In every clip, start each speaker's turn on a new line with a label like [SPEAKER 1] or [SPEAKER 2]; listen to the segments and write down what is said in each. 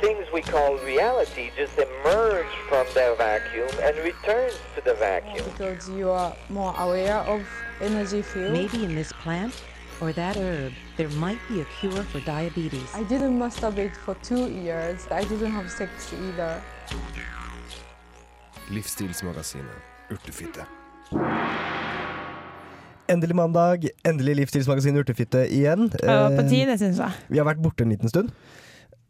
[SPEAKER 1] things we call reality just emerge from their vacuum and returns to the vacuum.
[SPEAKER 2] because you are more aware of energy field.
[SPEAKER 3] Maybe in this plant or that herb, there might be a cure for diabetes.
[SPEAKER 2] I didn't masturbate for two years. I didn't have sex either.
[SPEAKER 4] Livsstilsmagasinet Urtefitte.
[SPEAKER 5] Endelig mandag, endelig Livsstilsmagasinet Urtefitte igjen.
[SPEAKER 6] Ja, det var
[SPEAKER 5] Eh,
[SPEAKER 6] på tide, syns jeg.
[SPEAKER 5] vi har vært borte en liten stund,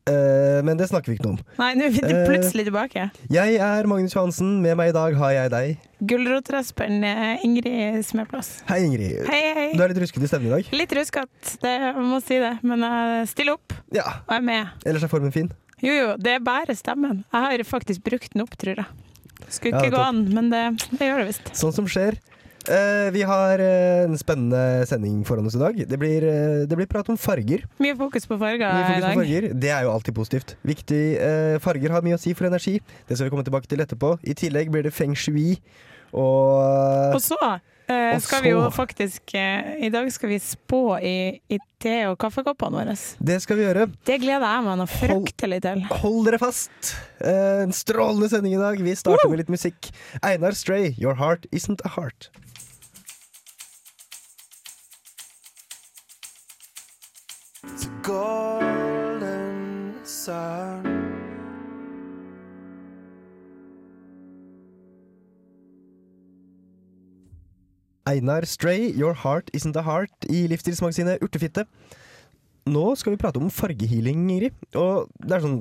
[SPEAKER 5] eh, men det snakker vi ikke noe om.
[SPEAKER 6] Nei, nå er vi
[SPEAKER 5] eh,
[SPEAKER 6] plutselig tilbake.
[SPEAKER 5] Jeg er Magnus Johansen, med meg i dag har jeg deg.
[SPEAKER 6] Gulrotrasperen eh, Ingrid Smeplass.
[SPEAKER 5] Hei, Ingrid.
[SPEAKER 6] Hei,
[SPEAKER 5] Du
[SPEAKER 6] hei.
[SPEAKER 5] er litt ruskete i stemmen i dag.
[SPEAKER 6] Litt ruskete, det- jeg må si det, men jeg stiller opp
[SPEAKER 5] Ja,
[SPEAKER 6] og er med.
[SPEAKER 5] ellers er formen fin.
[SPEAKER 6] Jo, jo, det bærer stemmen. Jeg har faktisk brukt den opp, tror jeg. Skulle
[SPEAKER 5] Ja,
[SPEAKER 6] ikke gå
[SPEAKER 5] topp.
[SPEAKER 6] an, men det, det gjør det visst.
[SPEAKER 5] Sånn som skjer. Eh, vi har eh, en spennende sending foran oss i dag. Det blir, eh, det blir prat om farger.
[SPEAKER 6] Mye fokus på farger
[SPEAKER 5] Mye
[SPEAKER 6] i
[SPEAKER 5] fokus på
[SPEAKER 6] dag.
[SPEAKER 5] farger. Det er jo alltid positivt. Viktig, eh, farger har mye å si for energi. Det skal vi komme tilbake til etterpå. I tillegg blir det feng shui og
[SPEAKER 6] Og så eh,
[SPEAKER 5] Og
[SPEAKER 6] skal vi jo
[SPEAKER 5] så-
[SPEAKER 6] faktisk eh, I dag skal vi spå i, i te- og kaffekoppene våre.
[SPEAKER 5] Det skal vi gjøre.
[SPEAKER 6] Det gleder jeg meg noe fryktelig til.
[SPEAKER 5] Hold dere fast! Eh, en strålende sending i dag. Vi starter med litt musikk. Einar Stray, 'Your Heart Isn't A Heart'.
[SPEAKER 7] It's a golden sun.
[SPEAKER 5] Einar Stray, 'Your Heart Isn't A Heart' i livsstilsmagasinet Urtefitte. Nå skal vi prate om fargehealing, Ingrid. Og det er sånn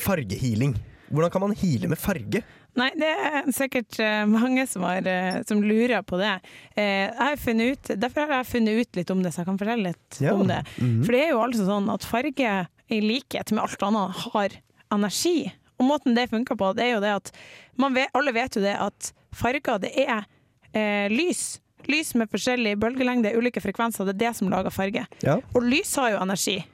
[SPEAKER 5] fargehealing. Hvordan kan man heale med farge?
[SPEAKER 6] Nei, det er sikkert eh, mange som, har, eh, som lurer på det. Eh, jeg har funnet ut, derfor har jeg funnet ut litt om det, så jeg kan fortelle litt
[SPEAKER 5] Ja. Mhm.
[SPEAKER 6] om det. For det er jo altså sånn at farge, i likhet med alt annet, har energi. Og måten det funker på, det er jo det at man vet, Alle vet jo det at farger, det er eh, lys. Lys med forskjellig bølgelengde, ulike frekvenser. Det er det som lager farge.
[SPEAKER 5] Ja.
[SPEAKER 6] Og lys har jo energi.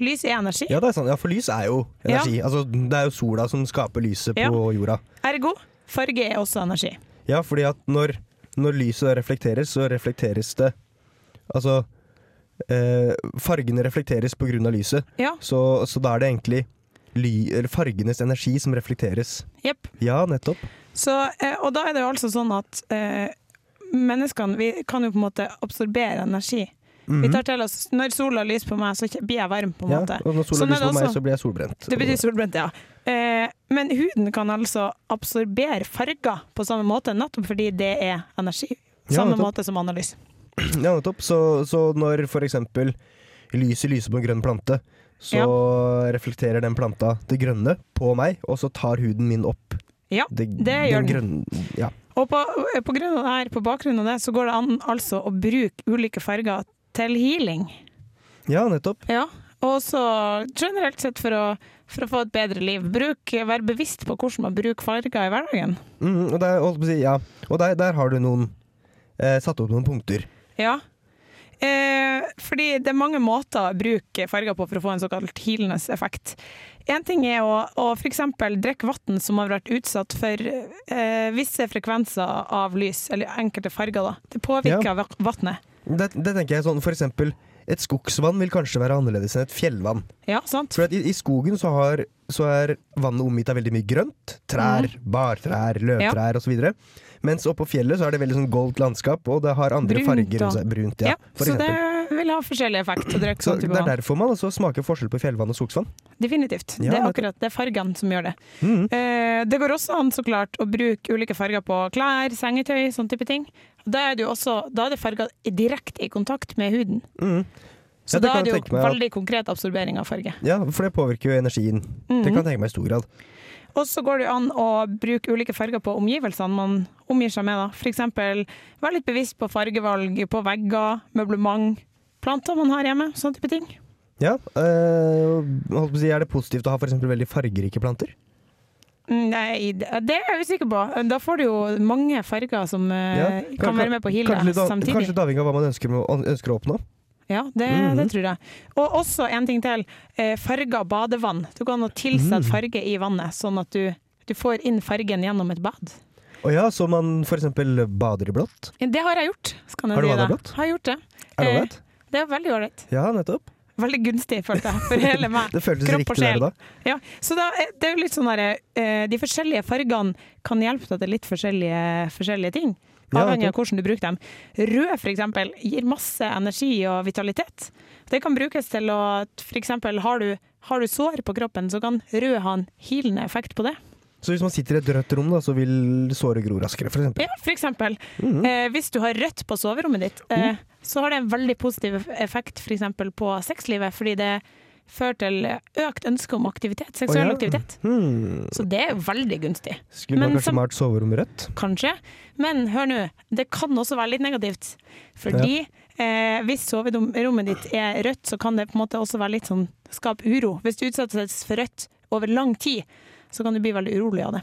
[SPEAKER 6] Lys er energi.
[SPEAKER 5] ja, det er sant. Ja, for lys er jo energi. Altså, det er jo sola som skaper lyset
[SPEAKER 6] Ja.
[SPEAKER 5] på jorda.
[SPEAKER 6] Ergo, farge er også energi.
[SPEAKER 5] Ja, fordi at når, når lyset reflekteres, så reflekteres det Altså eh, Fargene reflekteres på grunn av lyset,
[SPEAKER 6] Ja,
[SPEAKER 5] så, så da er det egentlig ly, eller fargenes energi som reflekteres.
[SPEAKER 6] jepp.
[SPEAKER 5] Ja, nettopp.
[SPEAKER 6] Så, eh, og da er det jo altså sånn at eh, menneskene vi kan jo på en måte absorbere energi. Vi tar til oss, Når sola lyser på meg, så kje- blir jeg varm, på
[SPEAKER 5] Mhm.
[SPEAKER 6] en
[SPEAKER 5] Ja,
[SPEAKER 6] måte.
[SPEAKER 5] og når sola
[SPEAKER 6] Sånn er
[SPEAKER 5] lyser på
[SPEAKER 6] det
[SPEAKER 5] meg,
[SPEAKER 6] også.
[SPEAKER 5] så blir jeg solbrent.
[SPEAKER 6] Det betyr solbrent, ja. Eh, men huden kan altså absorbere farger på samme måte, nettopp fordi det er energi.
[SPEAKER 5] Ja,
[SPEAKER 6] Samme
[SPEAKER 5] nettopp.
[SPEAKER 6] måte som analyse.
[SPEAKER 5] Ja, nettopp. Så, så når for eksempel lyset lyser på en grønn plante, så reflekterer den planta det grønne på meg, og så tar huden min opp
[SPEAKER 6] Ja,
[SPEAKER 5] det,
[SPEAKER 6] Det gjør
[SPEAKER 5] grønne Ja.
[SPEAKER 6] Og på, eh, på, grunn av det her, på bakgrunn av det så går det an altså å bruke ulike farger til healing.
[SPEAKER 5] ja, nettopp.
[SPEAKER 6] Ja, og så generelt sett for å, for å få et bedre liv. Bruk, vær bevisst på hvordan man bruker farger i hverdagen.
[SPEAKER 5] Mm, og der, holdt på å si, ja. og der, der har du noen eh, satt opp noen punkter.
[SPEAKER 6] Ja. Eh, fordi det er mange måter å bruke farger på for å få en såkalt healende effekt. En ting er å, å f.eks. drikke vann som har vært utsatt for eh, visse frekvenser av lys, eller enkelte farger. da. Det påvirker ja. vannet.
[SPEAKER 5] Det, det tenker jeg sånn, for eksempel et skogsvann vil kanskje være annerledes enn et fjellvann.
[SPEAKER 6] Ja, sant?
[SPEAKER 5] For at i, i skogen så, har, så er vannet omgitt av veldig mye grønt. Trær,
[SPEAKER 6] Mhm.
[SPEAKER 5] bartrær, løvtrær og osv. Mens oppå fjellet så er det veldig sånn goldt landskap, og det har andre
[SPEAKER 6] Brunt
[SPEAKER 5] farger
[SPEAKER 6] og-
[SPEAKER 5] rundt seg. Brunt,
[SPEAKER 6] Ja,
[SPEAKER 5] ja. for
[SPEAKER 6] så det
[SPEAKER 5] eksempel.
[SPEAKER 6] vil ha forskjellig effekt å drikke
[SPEAKER 5] så
[SPEAKER 6] sånn
[SPEAKER 5] det
[SPEAKER 6] type
[SPEAKER 5] er
[SPEAKER 6] vann.
[SPEAKER 5] derfor man altså smaker forskjell på fjellvann og skogsvann.
[SPEAKER 6] Definitivt.
[SPEAKER 5] Ja,
[SPEAKER 6] det er
[SPEAKER 5] nettopp.
[SPEAKER 6] akkurat det er fargene som gjør det.
[SPEAKER 5] Mhm.
[SPEAKER 6] Eh, det går også an så klart å bruke ulike farger på klær, sengetøy, sånn type ting. Da er det jo også da er det farger i- direkte i kontakt med huden.
[SPEAKER 5] Mhm.
[SPEAKER 6] Så
[SPEAKER 5] Ja, det
[SPEAKER 6] da
[SPEAKER 5] kan
[SPEAKER 6] er det
[SPEAKER 5] jeg
[SPEAKER 6] jo
[SPEAKER 5] tenke meg at-
[SPEAKER 6] veldig konkret absorbering av farge.
[SPEAKER 5] Ja, For det påvirker jo energien.
[SPEAKER 6] Mhm.
[SPEAKER 5] Det kan jeg tenke meg i stor grad.
[SPEAKER 6] Og så går det jo an å bruke ulike farger på omgivelsene man omgir seg med. Da. For eksempel være litt bevisst på fargevalg på vegger, møblement, planter man har hjemme, sånn type ting.
[SPEAKER 5] Ja, øh, holdt på å si, Er det positivt å ha for eksempel veldig fargerike planter?
[SPEAKER 6] Mm, Nei, det det er jeg usikker på. Da får du jo mange farger som eh,
[SPEAKER 5] Ja.
[SPEAKER 6] kan være med på healet
[SPEAKER 5] kanskje litt av-
[SPEAKER 6] samtidig.
[SPEAKER 5] Kanskje litt avhengig av hva man ønsker, med, å- ønsker å oppnå.
[SPEAKER 6] Ja, det, det
[SPEAKER 5] Mhm.
[SPEAKER 6] tror jeg. Og også en ting til. Eh, farga badevann. Du kan nå tilsette
[SPEAKER 5] Mm.
[SPEAKER 6] farge i vannet, sånn at du, du får inn fargen gjennom et bad.
[SPEAKER 5] Og ja, Så man for eksempel bader i blått.
[SPEAKER 6] Det har jeg gjort. Skal jeg
[SPEAKER 5] Har du
[SPEAKER 6] si deg.
[SPEAKER 5] badet blått?
[SPEAKER 6] Har jeg gjort det.
[SPEAKER 5] Er det
[SPEAKER 6] Eh,
[SPEAKER 5] ålreit?
[SPEAKER 6] Det er veldig ålreit.
[SPEAKER 5] Ja, nettopp.
[SPEAKER 6] veldig gunstig, følte jeg, for hele meg.
[SPEAKER 5] Det føltes
[SPEAKER 6] Kropp og
[SPEAKER 5] riktig der og da.
[SPEAKER 6] Ja, så da, eh, det er jo litt sånn der, eh, De forskjellige fargene kan hjelpe deg til litt forskjellige, forskjellige ting.
[SPEAKER 5] Ja,
[SPEAKER 6] Avhengig
[SPEAKER 5] nettopp.
[SPEAKER 6] av hvordan du bruker dem. Rød for eksempel, gir masse energi og vitalitet. Det kan brukes til å for eksempel, har, du, har du sår på kroppen, så kan rød ha en healende effekt på det.
[SPEAKER 5] Så hvis man sitter i et rødt rom, da, så vil såret gro raskere, for eksempel. Mhm.
[SPEAKER 6] Ja, for eksempel.
[SPEAKER 5] Mm.
[SPEAKER 6] eh, hvis du har rødt på soverommet ditt, eh, så har det en veldig positiv effekt for eksempel, på sexlivet, fordi det fører til økt ønske om aktivitet,
[SPEAKER 5] Å,
[SPEAKER 6] seksuell
[SPEAKER 5] ja.
[SPEAKER 6] aktivitet.
[SPEAKER 5] Hmm.
[SPEAKER 6] Så det er jo veldig gunstig.
[SPEAKER 5] Skulle man
[SPEAKER 6] Men
[SPEAKER 5] kanskje
[SPEAKER 6] som-
[SPEAKER 5] malt soverommet rødt?
[SPEAKER 6] Kanskje. Men hør nå, det kan også være litt negativt. Fordi eh, hvis soverommet ditt er rødt, så kan det på en måte også være litt sånn skape uro. Hvis du utsettes for rødt over lang tid, så kan du bli veldig urolig av det.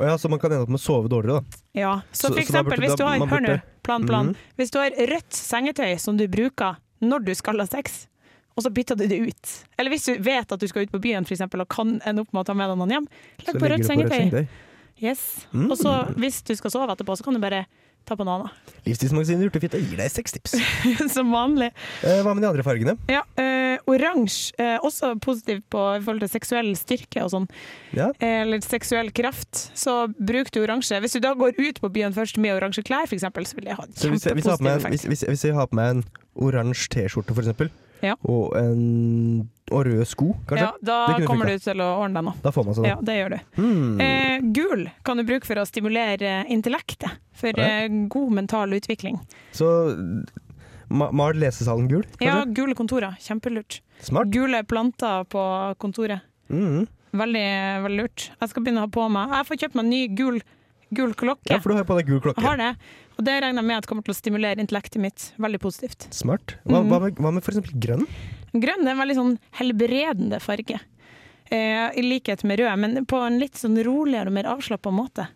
[SPEAKER 5] Å ja, så man kan ende opp med å sove dårligere, da.
[SPEAKER 6] Ja,
[SPEAKER 5] Så-
[SPEAKER 6] så for
[SPEAKER 5] så da
[SPEAKER 6] eksempel
[SPEAKER 5] burde- da-
[SPEAKER 6] hvis du har,
[SPEAKER 5] man
[SPEAKER 6] hør nå,
[SPEAKER 5] burde-
[SPEAKER 6] plan, plan.
[SPEAKER 5] Mhm.
[SPEAKER 6] Hvis du har rødt sengetøy som du bruker når du skal ha sex, og så bytter du det ut. Eller hvis du vet at du skal ut på byen for eksempel, og kan ende opp med å ta med deg noen hjem, legg
[SPEAKER 5] Så
[SPEAKER 6] på
[SPEAKER 5] legger
[SPEAKER 6] rødt
[SPEAKER 5] du på
[SPEAKER 6] sengetøy. Yes.
[SPEAKER 5] Mm.
[SPEAKER 6] Og så hvis du skal sove etterpå, så kan du bare ta på noe annet.
[SPEAKER 5] Livstidsmagasinet Urtefitte gir deg seks tips.
[SPEAKER 6] Som vanlig.
[SPEAKER 5] Eh, hva med de andre fargene?
[SPEAKER 6] Ja, eh, Oransje, eh, også positivt på i forhold til seksuell styrke og sånn,
[SPEAKER 5] Ja.
[SPEAKER 6] eh, eller seksuell kraft, så bruk du oransje. Hvis du da går ut på byen først med oransje klær, f.eks., så vil det ha en
[SPEAKER 5] Så hvis jeg, hvis, jeg har på
[SPEAKER 6] kjempepositiv
[SPEAKER 5] meg,
[SPEAKER 6] effekt.
[SPEAKER 5] hvis, hvis, hvis jeg har på meg en oransje T-skjorte, for eksempel,
[SPEAKER 6] Ja.
[SPEAKER 5] og, en, og røde sko, kanskje,
[SPEAKER 6] Ja, da
[SPEAKER 5] Det kunne
[SPEAKER 6] kommer
[SPEAKER 5] funka.
[SPEAKER 6] du til å ordne deg noe.
[SPEAKER 5] da får man seg det.
[SPEAKER 6] Ja, det gjør du.
[SPEAKER 5] Hmm.
[SPEAKER 6] Eh, gul kan du bruke for å stimulere intellektet, for
[SPEAKER 5] Ja.
[SPEAKER 6] eh, god mental utvikling.
[SPEAKER 5] Så ma mal lesesalen gul,
[SPEAKER 6] Ja,
[SPEAKER 5] kanskje?
[SPEAKER 6] gule kontorer, kjempelurt.
[SPEAKER 5] Smart.
[SPEAKER 6] Gule planter på kontoret.
[SPEAKER 5] Mhm.
[SPEAKER 6] Veldig, veldig lurt. Jeg skal begynne å ha på meg Jeg får kjøpt meg en ny gul, gul klokke.
[SPEAKER 5] Ja, for du har jo på deg gul klokke.
[SPEAKER 6] Jeg har det. Og det regner jeg med at kommer til å stimulere intellektet mitt. Veldig positivt.
[SPEAKER 5] Smart. Hva,
[SPEAKER 6] Mhm.
[SPEAKER 5] hva, med, hva med for eksempel grønn?
[SPEAKER 6] Grønn er en veldig sånn helbredende farge, eh, i likhet med rød, men på en litt sånn roligere og mer avslappa måte.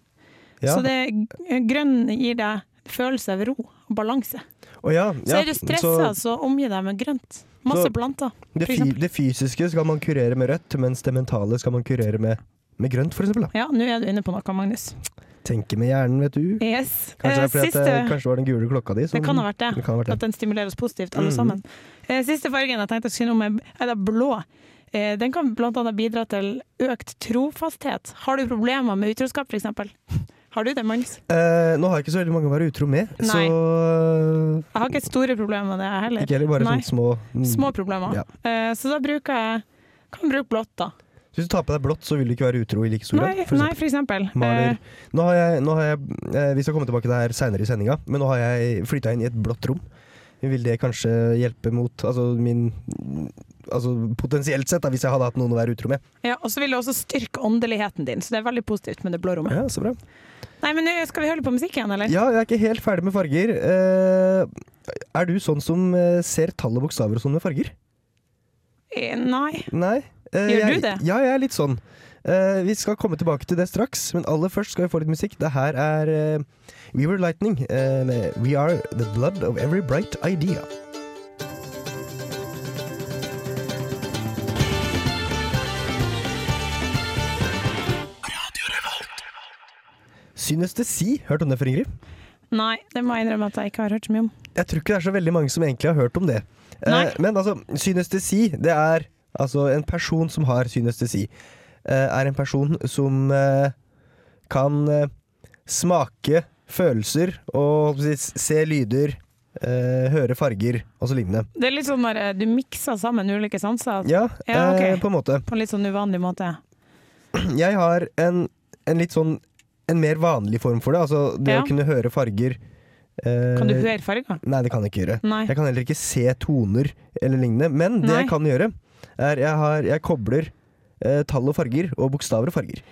[SPEAKER 5] Ja.
[SPEAKER 6] Så det, grønn gir deg følelse av ro og balanse.
[SPEAKER 5] Å ja,
[SPEAKER 6] Så
[SPEAKER 5] ja.
[SPEAKER 6] er du stressa,
[SPEAKER 5] Så-
[SPEAKER 6] så, omgi deg med grønt. Masse
[SPEAKER 5] Så-
[SPEAKER 6] planter.
[SPEAKER 5] Det,
[SPEAKER 6] for
[SPEAKER 5] fy,
[SPEAKER 6] eksempel.
[SPEAKER 5] det fysiske skal man kurere med rødt, mens det mentale skal man kurere med, med grønt, for eksempel. Da.
[SPEAKER 6] Ja, nå er du inne på noe, Magnus.
[SPEAKER 5] Tenke med hjernen, vet du.
[SPEAKER 6] Yes.
[SPEAKER 5] Kanskje, det
[SPEAKER 6] Eh,
[SPEAKER 5] er fordi at,
[SPEAKER 6] siste
[SPEAKER 5] det- kanskje det var den gule klokka di. som-
[SPEAKER 6] Det kan ha vært det.
[SPEAKER 5] det kan ha vært det.
[SPEAKER 6] At den stimulerer oss positivt, alle
[SPEAKER 5] Mhm.
[SPEAKER 6] sammen. Eh, Siste fargen jeg tenkte å si noe om, er- er da blå. Eh, Den kan bl.a. bidra til økt trofasthet. Har du problemer med utroskap, f.eks.? Har du det, Magnus?
[SPEAKER 5] Eh, nå har jeg ikke så veldig mange å være utro med, så
[SPEAKER 6] Jeg har ikke store problemer med det, jeg
[SPEAKER 5] eh,
[SPEAKER 6] heller.
[SPEAKER 5] Ikke heller bare
[SPEAKER 6] Nei.
[SPEAKER 5] sånne små, mm.
[SPEAKER 6] Små problemer.
[SPEAKER 5] Ja.
[SPEAKER 6] Eh, Så da bruker jeg kan bruke blått, da.
[SPEAKER 5] Hvis du tar på deg blått, så vil du ikke være utro i like stor
[SPEAKER 6] Nei,
[SPEAKER 5] grad. for
[SPEAKER 6] nei,
[SPEAKER 5] eksempel.
[SPEAKER 6] for eksempel. Eh,
[SPEAKER 5] Maler. Nå har jeg, nå har jeg eh, Vi skal komme tilbake til det her seinere i sendinga, men nå har jeg flytta inn i et blått rom. Vil det kanskje hjelpe mot Altså min Altså Potensielt sett, da, hvis jeg hadde hatt noen å være utro med.
[SPEAKER 6] Eh, Ja, og så vil det også styrke åndeligheten din, så det er veldig positivt med det blå rommet.
[SPEAKER 5] Ja, så bra
[SPEAKER 6] Nei, men nå skal vi høre litt på musikk igjen, eller?
[SPEAKER 5] Ja, jeg er ikke helt ferdig med farger. Eh, er du sånn som eh, ser tall og bokstaver og sånn med farger?
[SPEAKER 6] Eh, Nei.
[SPEAKER 5] Nei. Eh,
[SPEAKER 6] Gjør du
[SPEAKER 5] jeg,
[SPEAKER 6] det?
[SPEAKER 5] Ja, jeg er litt sånn. Eh, vi skal komme tilbake til det straks, men aller først skal vi få litt musikk. Det her er eh, We Were Lightning eh, med We Are The Blood Of Every Bright Idea. Synestesi, hørt om det for Ingrid?
[SPEAKER 6] Nei, det må jeg innrømme at jeg ikke har hørt så mye om.
[SPEAKER 5] Jeg tror ikke det er så veldig mange som egentlig har hørt om det. Eh,
[SPEAKER 6] Nei.
[SPEAKER 5] men altså, synestesi, det er altså en person som har synestesi, eh, er en person som eh, kan eh, smake følelser og holdt på å si, se lyder, eh, høre farger og så lignende.
[SPEAKER 6] Det er litt sånn der, du mikser sammen ulike sanser
[SPEAKER 5] Ja,
[SPEAKER 6] Ja, ok.
[SPEAKER 5] eh, på en måte.
[SPEAKER 6] på en litt sånn uvanlig måte.
[SPEAKER 5] Jeg har en, en litt sånn en mer vanlig form for det, altså det
[SPEAKER 6] Ja.
[SPEAKER 5] å kunne høre farger. eh,
[SPEAKER 6] Kan du høre farger?
[SPEAKER 5] Nei, det kan jeg ikke gjøre.
[SPEAKER 6] Nei.
[SPEAKER 5] Jeg kan heller ikke se toner eller lignende. Men det
[SPEAKER 6] Nei.
[SPEAKER 5] jeg kan gjøre, er jeg, har, jeg kobler eh, tall og farger, og bokstaver og farger.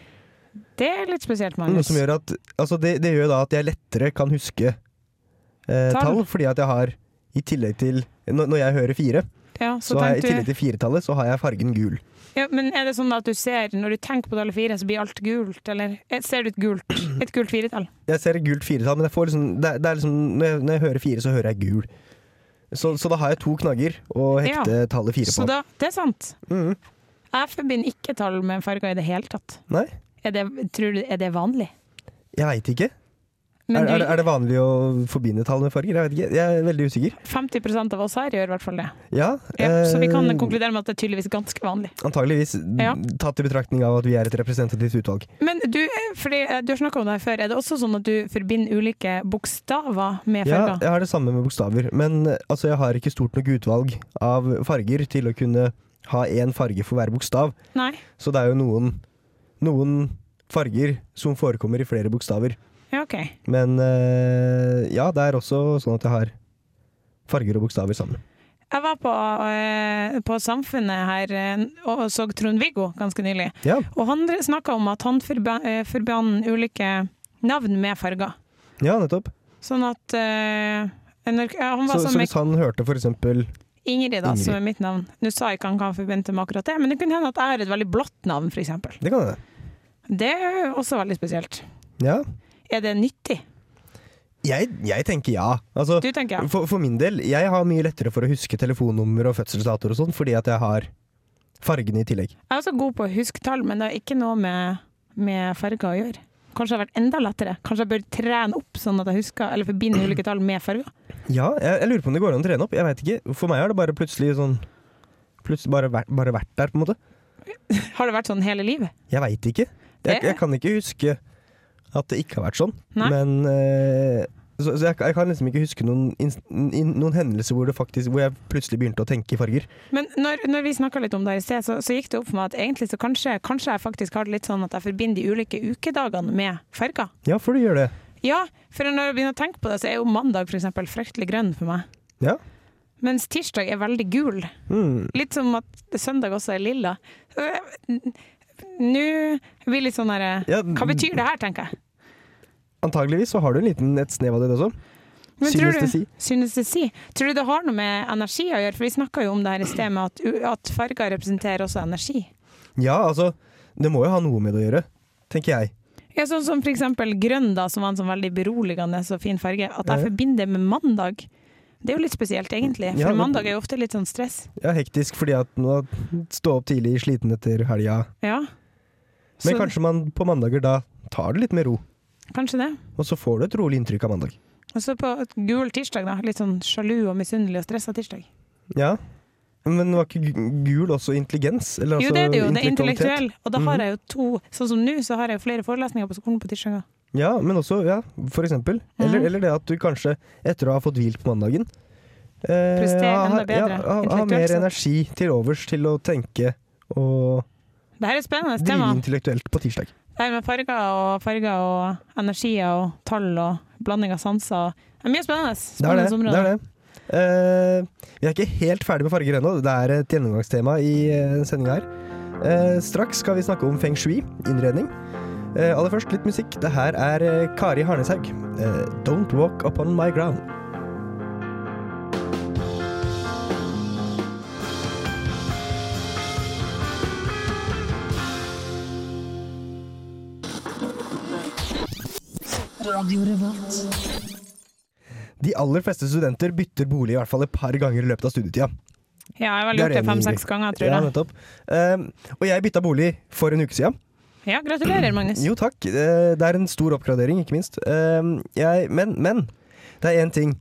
[SPEAKER 6] Det er litt spesielt,
[SPEAKER 5] Noe
[SPEAKER 6] Magnus.
[SPEAKER 5] som gjør at, altså det, det gjør da at jeg lettere kan huske eh,
[SPEAKER 6] Tall.
[SPEAKER 5] tall. fordi at jeg har i tillegg til Når, når jeg hører fire,
[SPEAKER 6] Ja,
[SPEAKER 5] så,
[SPEAKER 6] så
[SPEAKER 5] har jeg, i
[SPEAKER 6] tenkte
[SPEAKER 5] tillegg til firetallet så har jeg fargen gul.
[SPEAKER 6] du, ja, men er det sånn at du ser, når du tenker på tallet fire, så blir alt gult, eller eh, ser du et gult, et gult firetall?
[SPEAKER 5] Jeg ser et gult firetall, men jeg får liksom, det, er- det er liksom når, jeg, når jeg hører fire, så hører jeg gul. Så, så da har jeg to knagger å hekte tallet fire
[SPEAKER 6] Så
[SPEAKER 5] på.
[SPEAKER 6] da, det er sant.
[SPEAKER 5] Mhm.
[SPEAKER 6] Jeg forbinder ikke tall med farger i det hele tatt.
[SPEAKER 5] Nei,
[SPEAKER 6] Er det, tror du, er det vanlig?
[SPEAKER 5] jeg veit ikke.
[SPEAKER 6] Men
[SPEAKER 5] Er, er,
[SPEAKER 6] du,
[SPEAKER 5] det- er det vanlig å forbinde tall med farger? Jeg vet ikke, jeg er veldig usikker.
[SPEAKER 6] 50 av oss her gjør i hvert fall det.
[SPEAKER 5] Ja,
[SPEAKER 6] Ja, så vi kan
[SPEAKER 5] eh,
[SPEAKER 6] konkludere med at det er tydeligvis ganske vanlig.
[SPEAKER 5] Antageligvis
[SPEAKER 6] Ja.
[SPEAKER 5] tatt i betraktning av at vi er et representativt utvalg.
[SPEAKER 6] Men du, eh, fordi eh, du har snakka om det her før, er det også sånn at du forbinder ulike bokstaver med
[SPEAKER 5] Ja,
[SPEAKER 6] farger?
[SPEAKER 5] jeg har det samme med bokstaver, men eh, altså, jeg har ikke stort nok utvalg av farger til å kunne ha én farge for hver bokstav.
[SPEAKER 6] Nei?
[SPEAKER 5] Så det er jo noen, noen farger som forekommer i flere bokstaver.
[SPEAKER 6] Ja, OK.
[SPEAKER 5] Men eh, ja, det er også sånn at jeg har farger og bokstaver sammen.
[SPEAKER 6] Jeg var på, eh, på Samfunnet her eh, og så Trond-Viggo ganske nylig.
[SPEAKER 5] Ja,
[SPEAKER 6] Og han snakka om at han forba- eh, forbandt ulike navn med farger.
[SPEAKER 5] ja nettopp.
[SPEAKER 6] Sånn at eh, når, ja, Han var
[SPEAKER 5] Så,
[SPEAKER 6] sammen
[SPEAKER 5] så
[SPEAKER 6] med
[SPEAKER 5] hvis han hørte for eksempel
[SPEAKER 6] Ingrid, da,
[SPEAKER 5] Ingrid.
[SPEAKER 6] som er mitt navn. Nå sa jeg ikke han hva han forbindte med akkurat det, men det kunne hende at jeg har et veldig blått navn, f.eks.
[SPEAKER 5] Det kan hende.
[SPEAKER 6] Det er jo også veldig spesielt.
[SPEAKER 5] Ja.
[SPEAKER 6] Er det nyttig?
[SPEAKER 5] Jeg, jeg tenker ja. Altså,
[SPEAKER 6] Du tenker ja.
[SPEAKER 5] For, for min del, jeg har mye lettere for å huske telefonnummer og fødselsdatoer og sånn, fordi at jeg har fargene i tillegg.
[SPEAKER 6] Jeg er også god på å huske tall, men det har ikke noe med, med farger å gjøre. Kanskje det har vært enda lettere. Kanskje jeg bør trene opp sånn at jeg husker, eller forbinder ulike tall med farger.
[SPEAKER 5] Ja, jeg, jeg lurer på om det går an å trene opp. Jeg vet ikke. For meg har det bare plutselig sånn Plutselig bare, vært- bare vært der, på en måte.
[SPEAKER 6] Har det vært sånn hele livet?
[SPEAKER 5] Jeg veit ikke. Jeg,
[SPEAKER 6] Det-
[SPEAKER 5] jeg kan ikke huske at det ikke har vært sånn.
[SPEAKER 6] Nei.
[SPEAKER 5] Men eh, Så, så jeg, jeg kan liksom ikke huske noen, ins- in, noen hendelser hvor, det faktisk, hvor jeg plutselig begynte å tenke i farger.
[SPEAKER 6] Men når, når vi snakka litt om det her i sted, så, så gikk det opp for meg at egentlig så kanskje, kanskje jeg faktisk har det litt sånn at jeg forbinder de ulike ukedagene med farger.
[SPEAKER 5] Ja, for du gjør det.
[SPEAKER 6] Ja, for når jeg begynner å tenke på det, så er jo mandag for eksempel fryktelig grønn for meg.
[SPEAKER 5] Ja.
[SPEAKER 6] Mens tirsdag er veldig gul.
[SPEAKER 5] Mm.
[SPEAKER 6] Litt som at søndag også er lilla. Øh, n- Nå blir det litt sånn herre
[SPEAKER 5] Ja,
[SPEAKER 6] Hva betyr det her, tenker jeg.
[SPEAKER 5] Antageligvis så har du en liten, et snev av det også.
[SPEAKER 6] Men tror du-
[SPEAKER 5] Synestesi.
[SPEAKER 6] Synestesi. Tror du det har noe med energi å gjøre? For vi snakka jo om det her i sted, med at, u- at farger representerer også energi.
[SPEAKER 5] Ja, altså, det må jo ha noe med det å gjøre, tenker jeg.
[SPEAKER 6] Ja, sånn som for eksempel grønn, da, som var en sånn veldig beroligende og fin farge. At jeg
[SPEAKER 5] Ja.
[SPEAKER 6] forbinder med mandag. Det er jo litt spesielt, egentlig. For
[SPEAKER 5] Ja, det-
[SPEAKER 6] mandag er jo ofte litt sånn stress.
[SPEAKER 5] Ja, hektisk fordi at nå stå opp tidlig, sliten etter helga.
[SPEAKER 6] Ja.
[SPEAKER 5] Men
[SPEAKER 6] Så-
[SPEAKER 5] kanskje man på mandager da tar det litt med ro,
[SPEAKER 6] Kanskje det.
[SPEAKER 5] og så får du et rolig inntrykk av mandag.
[SPEAKER 6] Og så på et gul tirsdag, da. Litt sånn sjalu og misunnelig og stressa tirsdag.
[SPEAKER 5] Ja, men var ikke gu- gul også intelligens? Eller
[SPEAKER 6] Jo,
[SPEAKER 5] altså
[SPEAKER 6] det er det jo. Det er
[SPEAKER 5] intellektualitet?
[SPEAKER 6] intellektuell. Og da
[SPEAKER 5] Mhm.
[SPEAKER 6] har jeg jo to Sånn som nå, så har jeg jo flere forelesninger på skolen på tirsdager.
[SPEAKER 5] Ja, men også, ja, for eksempel. Eller, eller det at du kanskje, etter å ha fått hvilt på mandagen, eh,
[SPEAKER 6] Presterer enda
[SPEAKER 5] har-
[SPEAKER 6] bedre,
[SPEAKER 5] Ja, har, har
[SPEAKER 6] intellektuelt
[SPEAKER 5] mer
[SPEAKER 6] sett.
[SPEAKER 5] energi til overs til å tenke og
[SPEAKER 6] Det her er et spennende tema.
[SPEAKER 5] drive intellektuelt på tirsdag.
[SPEAKER 6] Det her med farger og farger og energier og tall og blanding av sanser. Det er mye spennende.
[SPEAKER 5] Det er det.
[SPEAKER 6] spennende
[SPEAKER 5] det, er det. Eh, vi er ikke helt ferdig med farger ennå. Det er et gjennomgangstema i uh, sendinga her. Eh, straks skal vi snakke om feng shui, innredning. Eh, aller først litt musikk. Det her er eh, Kari Harneshaug. Eh, 'Don't Walk Upon My Ground'. De aller fleste studenter bytter bolig i hvert fall et par ganger i løpet av studietida.
[SPEAKER 6] Ja, jeg har vel
[SPEAKER 5] Det er
[SPEAKER 6] gjort det
[SPEAKER 5] enig,
[SPEAKER 6] fem-seks
[SPEAKER 5] Ingrid.
[SPEAKER 6] ganger, tror
[SPEAKER 5] Ja,
[SPEAKER 6] jeg.
[SPEAKER 5] nettopp. Eh, og jeg bytta bolig for en uke siden.
[SPEAKER 6] Ja, gratulerer, Magnus.
[SPEAKER 5] Jo takk, Eh, det er en stor oppgradering, ikke minst. Eh, Jeg, men, men det er én ting.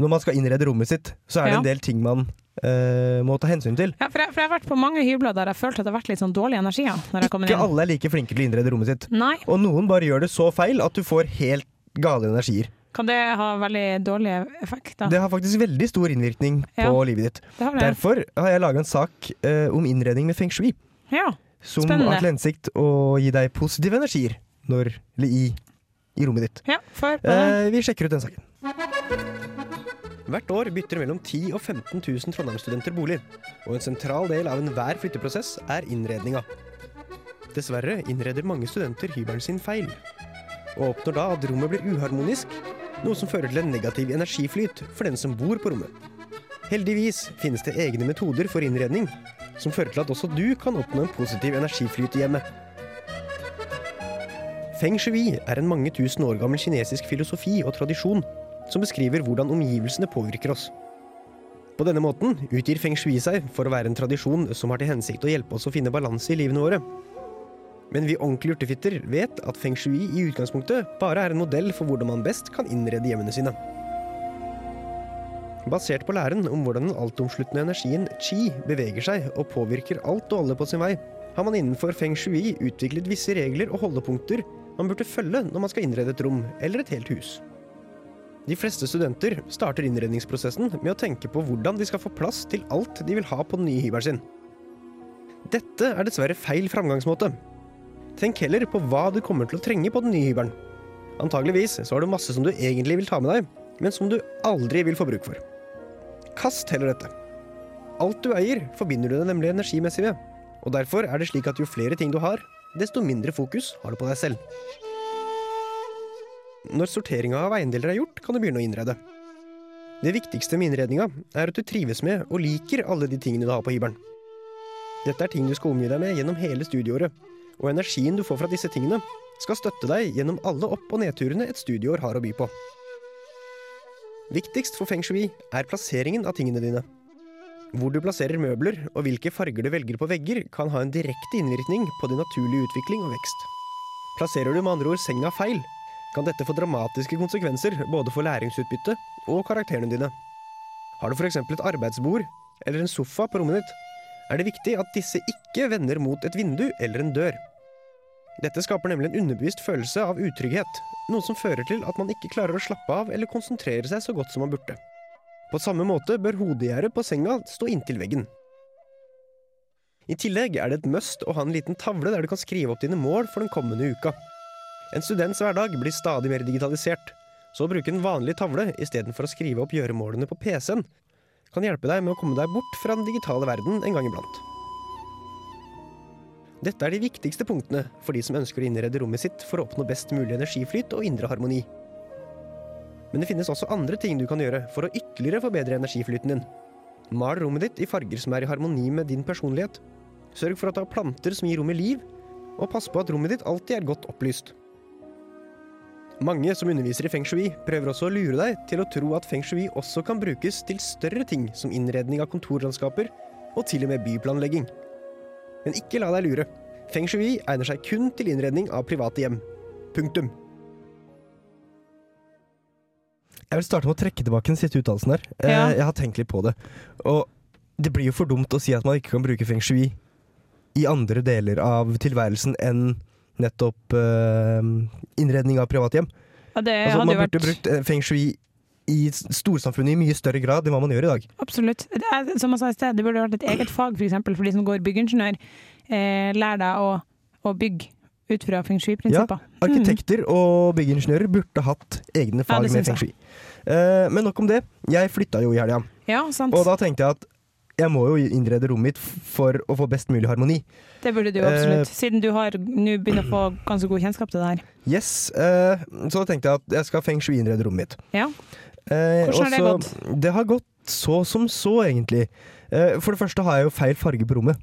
[SPEAKER 5] Når man skal innrede rommet sitt, så er det
[SPEAKER 6] Ja.
[SPEAKER 5] en del ting man eh, må ta hensyn til.
[SPEAKER 6] Ja, for jeg, for jeg har vært på mange hybler der jeg følte at det har vært litt sånn dårlig energi ja, når jeg kom
[SPEAKER 5] Ikke
[SPEAKER 6] inn.
[SPEAKER 5] alle er like flinke til å innrede rommet sitt.
[SPEAKER 6] Nei,
[SPEAKER 5] Og noen bare gjør det så feil at du får helt gale energier.
[SPEAKER 6] kan det ha veldig dårlig effekt, da?
[SPEAKER 5] Det har faktisk veldig stor innvirkning
[SPEAKER 6] Ja.
[SPEAKER 5] på livet ditt.
[SPEAKER 6] Det har det.
[SPEAKER 5] Derfor har jeg laga en sak eh, om innredning med feng shui,
[SPEAKER 6] Ja.
[SPEAKER 5] som
[SPEAKER 6] Spennende.
[SPEAKER 5] har til hensikt å gi deg positive energier når, eller i, i rommet ditt.
[SPEAKER 6] ja, før på det.
[SPEAKER 5] Eh, vi sjekker ut den saken. Hvert år bytter mellom 10 og 15 000 Trondheim-studenter bolig, og en sentral del av enhver flytteprosess er innredninga. Dessverre innreder mange studenter hybelen sin feil, og oppnår da at rommet blir uharmonisk, noe som fører til en negativ energiflyt for den som bor på rommet. Heldigvis finnes det egne metoder for innredning, som fører til at også du kan oppnå en positiv energiflyt i hjemmet. Feng shui er en mange tusen år gammel kinesisk filosofi og tradisjon som beskriver hvordan omgivelsene påvirker oss. På denne måten utgir feng shui seg for å være en tradisjon som har til hensikt å hjelpe oss å finne balanse i livene våre. Men vi ordentlige urtefitter vet at feng shui i utgangspunktet bare er en modell for hvordan man best kan innrede hjemmene sine. Basert på læren om hvordan den altomsluttende energien chi beveger seg og påvirker alt og alle på sin vei, har man innenfor feng shui utviklet visse regler og holdepunkter man burde følge når man skal innrede et rom eller et helt hus. De fleste studenter starter innredningsprosessen med å tenke på hvordan de skal få plass til alt de vil ha på den nye hybelen sin. Dette er dessverre feil framgangsmåte. Tenk heller på hva du kommer til å trenge på den nye hybelen. Antageligvis så har du masse som du egentlig vil ta med deg, men som du aldri vil få bruk for. Kast heller dette. Alt du eier, forbinder du det nemlig energimessig med, og derfor er det slik at jo flere ting du har, desto mindre fokus har du på deg selv. Når sorteringa av eiendeler er gjort, kan du begynne å innrede. Det viktigste med innredninga er at du trives med og liker alle de tingene du har på hybelen. Dette er ting du skal omgi deg med gjennom hele studieåret, og energien du får fra disse tingene, skal støtte deg gjennom alle opp- og nedturene et studieår har å by på. Viktigst for feng shui er plasseringen av tingene dine. Hvor du plasserer møbler og hvilke farger du velger på vegger, kan ha en direkte innvirkning på din naturlige utvikling og vekst. Plasserer du med andre ord senga feil, kan dette få dramatiske konsekvenser både for læringsutbyttet og karakterene dine. Har du f.eks. et arbeidsbord eller en sofa på rommet ditt, er det viktig at disse ikke vender mot et vindu eller en dør. Dette skaper nemlig en underbevist følelse av utrygghet, noe som fører til at man ikke klarer å slappe av eller konsentrere seg så godt som man burde. På samme måte bør hodegjerdet på senga stå inntil veggen. I tillegg er det et must å ha en liten tavle der du kan skrive opp dine mål for den kommende uka. En students hverdag blir stadig mer digitalisert, så å bruke en vanlig tavle istedenfor å skrive opp gjøremålene på PC-en kan hjelpe deg med å komme deg bort fra den digitale verden en gang iblant. Dette er de viktigste punktene for de som ønsker å innrede rommet sitt for å oppnå best mulig energiflyt og indre harmoni. Men det finnes også andre ting du kan gjøre for å ytterligere forbedre energiflyten din. Mal rommet ditt i farger som er i harmoni med din personlighet. Sørg for at du har planter som gir rommet liv, og pass på at rommet ditt alltid er godt opplyst. Mange som underviser i feng shui, prøver også å lure deg til å tro at feng shui også kan brukes til større ting som innredning av kontorlandskaper, og til og med byplanlegging. Men ikke la deg lure. Feng shui egner seg kun til innredning av private hjem. Punktum.
[SPEAKER 8] Jeg vil starte med å trekke tilbake den siste uttalelsen der. Eh,
[SPEAKER 6] Ja.
[SPEAKER 8] Jeg har tenkt litt på det. Og det blir jo for dumt å si at man ikke kan bruke feng shui i andre deler av tilværelsen enn nettopp eh, innredning av privathjem.
[SPEAKER 6] Ja, det
[SPEAKER 8] Altså,
[SPEAKER 6] hadde
[SPEAKER 8] man burde
[SPEAKER 6] jo vært
[SPEAKER 8] brukt eh, feng shui i s- storsamfunnet i mye større grad enn hva man gjør i dag.
[SPEAKER 6] Absolutt. Det er, som jeg sa i sted, det burde vært et eget fag for, eksempel, for de som går byggingeniør. Eh, lær deg å, å bygge ut fra feng Mm. shui-prinsipper.
[SPEAKER 8] Arkitekter og byggingeniører burde hatt egne fag
[SPEAKER 6] det
[SPEAKER 8] med
[SPEAKER 6] syns
[SPEAKER 8] feng shui. Eh, men nok om det. Jeg flytta jo i helga.
[SPEAKER 6] Mm. Ja, sant.
[SPEAKER 8] Og da tenkte jeg at jeg må jo innrede rommet mitt f- for å få best mulig harmoni.
[SPEAKER 6] det burde du jo
[SPEAKER 8] eh,
[SPEAKER 6] absolutt. Siden du har nå begynner å få ganske god kjennskap til det her.
[SPEAKER 8] Yes, eh, Så tenkte jeg at jeg skal feng shui-innrede rommet mitt.
[SPEAKER 6] Ja.
[SPEAKER 8] Eh,
[SPEAKER 6] Hvordan har det
[SPEAKER 8] og så- Det har gått så som så, egentlig. Eh, for det første har jeg jo feil farge på rommet.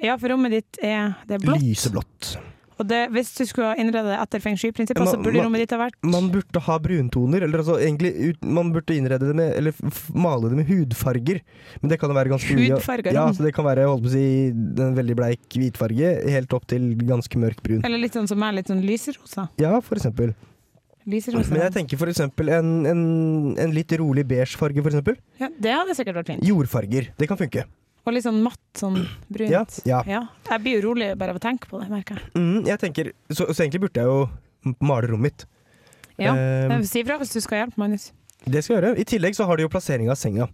[SPEAKER 6] ja, for rommet ditt er, det er blått.
[SPEAKER 8] Lyseblått.
[SPEAKER 6] Og det, hvis du skulle ha innredet det etter feng shui-prinsipper,
[SPEAKER 8] Ma-
[SPEAKER 6] så burde
[SPEAKER 8] ma-
[SPEAKER 6] rommet ditt ha vært
[SPEAKER 8] Man burde ha bruntoner, eller altså egentlig ut, man burde innrede det med Eller f- male det med hudfarger. Men det kan jo være ganske mye-
[SPEAKER 6] Hudfarger,
[SPEAKER 8] Ja,
[SPEAKER 6] ja.
[SPEAKER 8] så det kan være holdt på å si, en veldig bleik hvitfarge helt opp til ganske mørk brun.
[SPEAKER 6] Eller litt sånn som meg, litt sånn lyserosa.
[SPEAKER 8] Ja, for eksempel.
[SPEAKER 6] lyserosa.
[SPEAKER 8] Men jeg tenker for eksempel en, en, en litt rolig beige farge, for eksempel.
[SPEAKER 6] ja, det hadde sikkert vært fint.
[SPEAKER 8] Jordfarger. Det kan funke.
[SPEAKER 6] Og litt sånn matt, sånn brunt.
[SPEAKER 8] Ja, ja.
[SPEAKER 6] Jeg blir jo rolig bare av å tenke på det, merker jeg.
[SPEAKER 8] Mm, jeg tenker, så, så egentlig burde jeg jo male rommet mitt.
[SPEAKER 6] Ja.
[SPEAKER 8] Eh,
[SPEAKER 6] Si ifra hvis du skal hjelpe, Magnus.
[SPEAKER 8] det skal jeg gjøre. I tillegg så har du jo plassering av senga.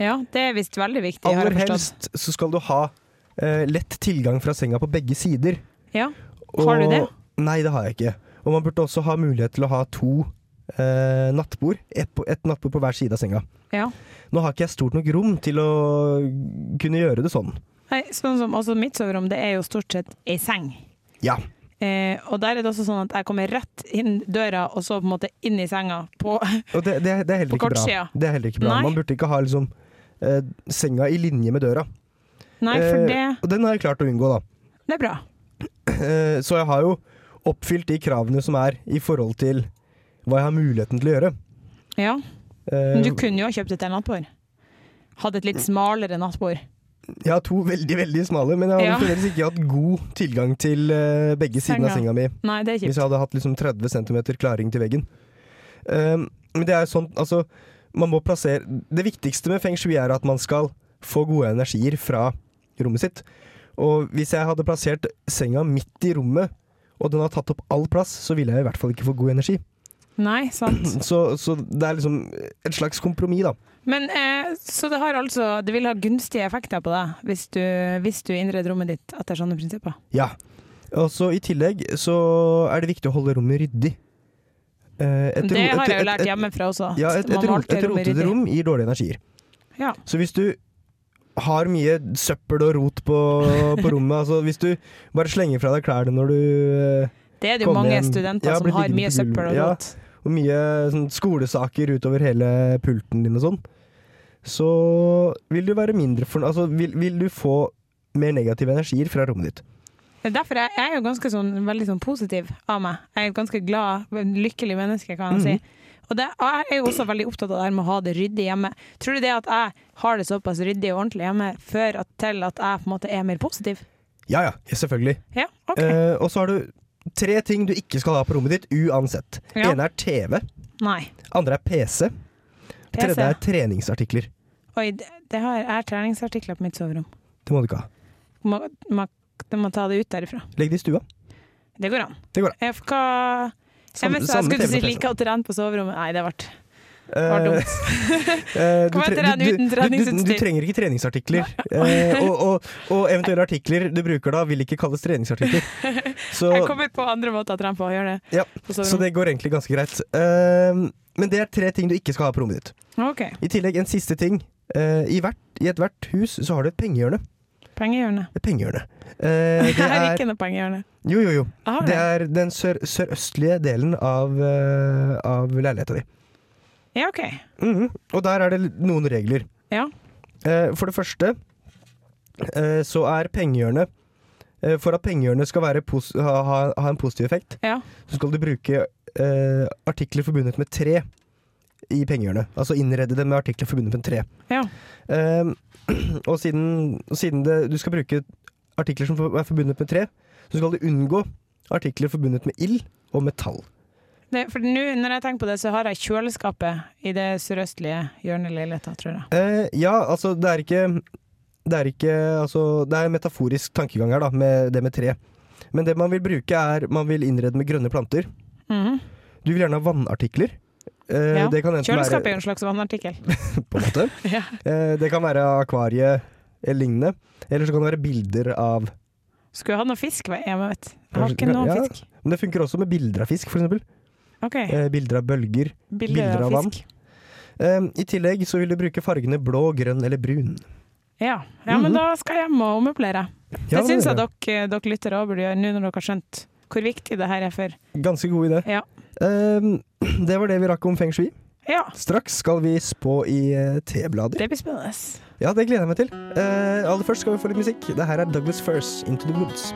[SPEAKER 6] Ja, det er visst veldig viktig. har
[SPEAKER 8] Aller
[SPEAKER 6] jeg forstått.
[SPEAKER 8] helst så skal du ha eh, lett tilgang fra senga på begge sider.
[SPEAKER 6] Ja. Har du det?
[SPEAKER 8] Nei, det har jeg ikke. Og man burde også ha mulighet til å ha to eh, nattbord. Ett på- ett nattbord på hver side av senga.
[SPEAKER 6] ja.
[SPEAKER 8] Nå har ikke jeg stort nok rom til å kunne gjøre det sånn.
[SPEAKER 6] Nei, sånn som også mitt soverom, det er jo stort sett ei seng.
[SPEAKER 8] Ja.
[SPEAKER 6] Eh, og der er det også sånn at jeg kommer rett inn døra, og så på en måte inn i senga. På,
[SPEAKER 8] Og det, det, er- det er heller
[SPEAKER 6] På
[SPEAKER 8] ikke bra.
[SPEAKER 6] kortsida.
[SPEAKER 8] Det er heller ikke bra.
[SPEAKER 6] Nei.
[SPEAKER 8] Man burde ikke ha liksom eh, senga i linje med døra.
[SPEAKER 6] nei, for
[SPEAKER 8] Eh,
[SPEAKER 6] det,
[SPEAKER 8] Og den har jeg klart å unngå, da.
[SPEAKER 6] det er bra.
[SPEAKER 8] Eh, Så jeg har jo oppfylt de kravene som er i forhold til hva jeg har muligheten til å gjøre.
[SPEAKER 6] Ja.
[SPEAKER 8] Eh,
[SPEAKER 6] Men du kunne jo ha kjøpt et nattbord. Hatt et litt smalere nattbord.
[SPEAKER 5] Jeg har to veldig veldig smale, men jeg hadde
[SPEAKER 6] Ja.
[SPEAKER 5] fremdeles ikke hatt god tilgang til eh, begge sidene av
[SPEAKER 6] Senga.
[SPEAKER 5] senga mi
[SPEAKER 6] Nei, det er
[SPEAKER 5] hvis
[SPEAKER 6] kjipt.
[SPEAKER 5] jeg hadde hatt liksom 30 cm klaring til veggen. Um, men det er sånn, altså man må plassere, Det viktigste med feng shui er at man skal få gode energier fra rommet sitt. Og hvis jeg hadde plassert senga midt i rommet, og den har tatt opp all plass, så ville jeg i hvert fall ikke få god energi.
[SPEAKER 6] Nei, sant.
[SPEAKER 5] Så, så det er liksom et slags kompromiss, da.
[SPEAKER 6] Men eh, så det har altså Det vil ha gunstige effekter på deg hvis du, hvis du innreder rommet ditt etter sånne prinsipper.
[SPEAKER 5] Ja. Og så i tillegg så er det viktig å holde rommet ryddig. Eh, et
[SPEAKER 6] det
[SPEAKER 5] ro-
[SPEAKER 6] har
[SPEAKER 5] et-
[SPEAKER 6] jeg jo
[SPEAKER 5] et-
[SPEAKER 6] lært
[SPEAKER 5] et-
[SPEAKER 6] hjemmefra også.
[SPEAKER 5] Ja, et, et,
[SPEAKER 6] Man må
[SPEAKER 5] ro-
[SPEAKER 6] alltid
[SPEAKER 5] et
[SPEAKER 6] rommet
[SPEAKER 5] rotete
[SPEAKER 6] ryddig.
[SPEAKER 5] rom gir dårlige energier.
[SPEAKER 6] Ja.
[SPEAKER 5] Så hvis du har mye søppel og rot på, på rommet, altså hvis du bare slenger fra deg klærne når du eh,
[SPEAKER 6] Det er det jo
[SPEAKER 5] Kom
[SPEAKER 6] mange
[SPEAKER 5] igjen.
[SPEAKER 6] studenter
[SPEAKER 5] Ja,
[SPEAKER 6] som
[SPEAKER 5] blir
[SPEAKER 6] har
[SPEAKER 5] liggende
[SPEAKER 6] mye
[SPEAKER 5] på gulvet.
[SPEAKER 6] søppel og
[SPEAKER 5] Ja.
[SPEAKER 6] rot.
[SPEAKER 5] Og mye sånn, skolesaker utover hele pulten din og sånn, så vil du være mindre fornøyd Altså vil, vil du få mer negative energier fra rommet ditt.
[SPEAKER 6] Det er derfor jeg, jeg er jo ganske sånn, veldig sånn positiv av meg. Jeg er et ganske glad, lykkelig menneske, kan jeg si.
[SPEAKER 5] Mhm.
[SPEAKER 6] Og det, jeg er jo også veldig opptatt av det her med å ha det ryddig hjemme. Tror du det at jeg har det såpass ryddig og ordentlig hjemme før at, til at jeg på en måte er mer positiv?
[SPEAKER 5] Ja ja, ja, selvfølgelig.
[SPEAKER 6] Ja, OK.
[SPEAKER 5] Eh, og så har du tre ting du ikke skal ha på rommet ditt uansett.
[SPEAKER 6] Ja.
[SPEAKER 5] Ene er TV,
[SPEAKER 6] Nei.
[SPEAKER 5] andre er PC,
[SPEAKER 6] PC.
[SPEAKER 5] tredje er treningsartikler.
[SPEAKER 6] Oi, det, det har, jeg har treningsartikler på mitt soverom.
[SPEAKER 5] Det må du ikke ha.
[SPEAKER 6] Må, må, de må ta det ut derifra.
[SPEAKER 5] Legg det i stua.
[SPEAKER 6] Det går an.
[SPEAKER 5] Det går an. Sånn- Samme-
[SPEAKER 6] Jeg, hva, jeg, vet, jeg
[SPEAKER 5] samme
[SPEAKER 6] skulle
[SPEAKER 5] TV
[SPEAKER 6] si
[SPEAKER 5] og PC.
[SPEAKER 6] like at trent på soverommet. Nei, det ble, det var
[SPEAKER 5] Eh,
[SPEAKER 6] dumt.
[SPEAKER 5] Eh, du
[SPEAKER 6] Kan man
[SPEAKER 5] tre-
[SPEAKER 6] trene
[SPEAKER 5] du-
[SPEAKER 6] uten
[SPEAKER 5] du- Du, du,
[SPEAKER 6] treningsutstyr?
[SPEAKER 5] du trenger ikke treningsartikler. Eh, og, og, og eventuelle artikler du bruker da, vil ikke kalles treningsartikler. Så,
[SPEAKER 6] Jeg kommer på andre måter å trene på å gjøre det.
[SPEAKER 5] Ja,
[SPEAKER 6] på
[SPEAKER 5] så det går egentlig ganske greit. Eh, men det er tre ting du ikke skal ha på rommet ditt.
[SPEAKER 6] OK.
[SPEAKER 5] I tillegg en siste ting. Eh, I hvert, i ethvert hus så har du et pengehjørne.
[SPEAKER 6] Pengehjørne.
[SPEAKER 5] Et pengehjørne. Eh,
[SPEAKER 6] Jeg
[SPEAKER 5] det
[SPEAKER 6] har
[SPEAKER 5] er
[SPEAKER 6] ikke noe pengehjørne.
[SPEAKER 5] Jo, jo, jo.
[SPEAKER 6] Jeg har
[SPEAKER 5] Det
[SPEAKER 6] det.
[SPEAKER 5] er den sør, sørøstlige delen av, uh, av leiligheta di.
[SPEAKER 6] Ja, OK.
[SPEAKER 5] Mhm. Og der er det l- noen regler.
[SPEAKER 6] Ja.
[SPEAKER 5] Eh, for det første eh, så er pengehjørnet eh, For at pengehjørnet skal være pos ha, ha, ha en positiv effekt,
[SPEAKER 6] Ja.
[SPEAKER 5] så skal du bruke eh, artikler forbundet med tre i pengehjørnet. Altså innrede det med artikler forbundet med tre.
[SPEAKER 6] Ja.
[SPEAKER 5] Eh, og siden, og siden det, du skal bruke artikler som for- er forbundet med tre, så skal du unngå artikler forbundet med ild og metall.
[SPEAKER 6] Det, for nå når jeg tenker på det, så har jeg kjøleskapet i det sørøstlige hjørnet i leiligheta, tror jeg.
[SPEAKER 5] Eh, ja, altså det er ikke Det er ikke altså, Det er en metaforisk tankegang her, da, med det med tre. Men det man vil bruke, er Man vil innrede med grønne planter.
[SPEAKER 6] Mhm.
[SPEAKER 5] Du vil gjerne ha vannartikler. Eh,
[SPEAKER 6] Ja.
[SPEAKER 5] Det kan enten
[SPEAKER 6] Kjøleskapet er
[SPEAKER 5] være
[SPEAKER 6] jo en slags vannartikkel.
[SPEAKER 5] på en måte.
[SPEAKER 6] Ja.
[SPEAKER 5] Eh, det kan være akvarie eller lignende. Eller så kan det være bilder av
[SPEAKER 6] Skulle jeg hatt noe fisk hjemme, vet du. Jeg har
[SPEAKER 5] Kanskje-
[SPEAKER 6] ikke noe
[SPEAKER 5] ja.
[SPEAKER 6] fisk.
[SPEAKER 5] Men det funker også med bilder av fisk, f.eks. eksempel
[SPEAKER 6] OK.
[SPEAKER 5] Eh, bilder av bølger. bilder
[SPEAKER 6] Bilder av
[SPEAKER 5] av
[SPEAKER 6] fisk.
[SPEAKER 5] Eh, I tillegg så vil du bruke fargene blå, grønn eller brun.
[SPEAKER 6] Ja, ja men da skal jeg hjem og ommøblere.
[SPEAKER 5] Mhm. Ja,
[SPEAKER 6] det syns
[SPEAKER 5] er
[SPEAKER 6] jeg dere, dere lyttere òg burde gjøre, nå når dere har skjønt hvor viktig det her er for
[SPEAKER 5] Ganske god idé.
[SPEAKER 6] Ja.
[SPEAKER 5] Eh, det var det vi rakk om feng shui.
[SPEAKER 6] Ja,
[SPEAKER 5] Straks skal vi spå i eh, teblader.
[SPEAKER 6] det blir spennende.
[SPEAKER 5] Ja, det gleder jeg meg til. Eh, aller først skal vi få litt musikk. Det her er Douglas First, 'Into the Woods'.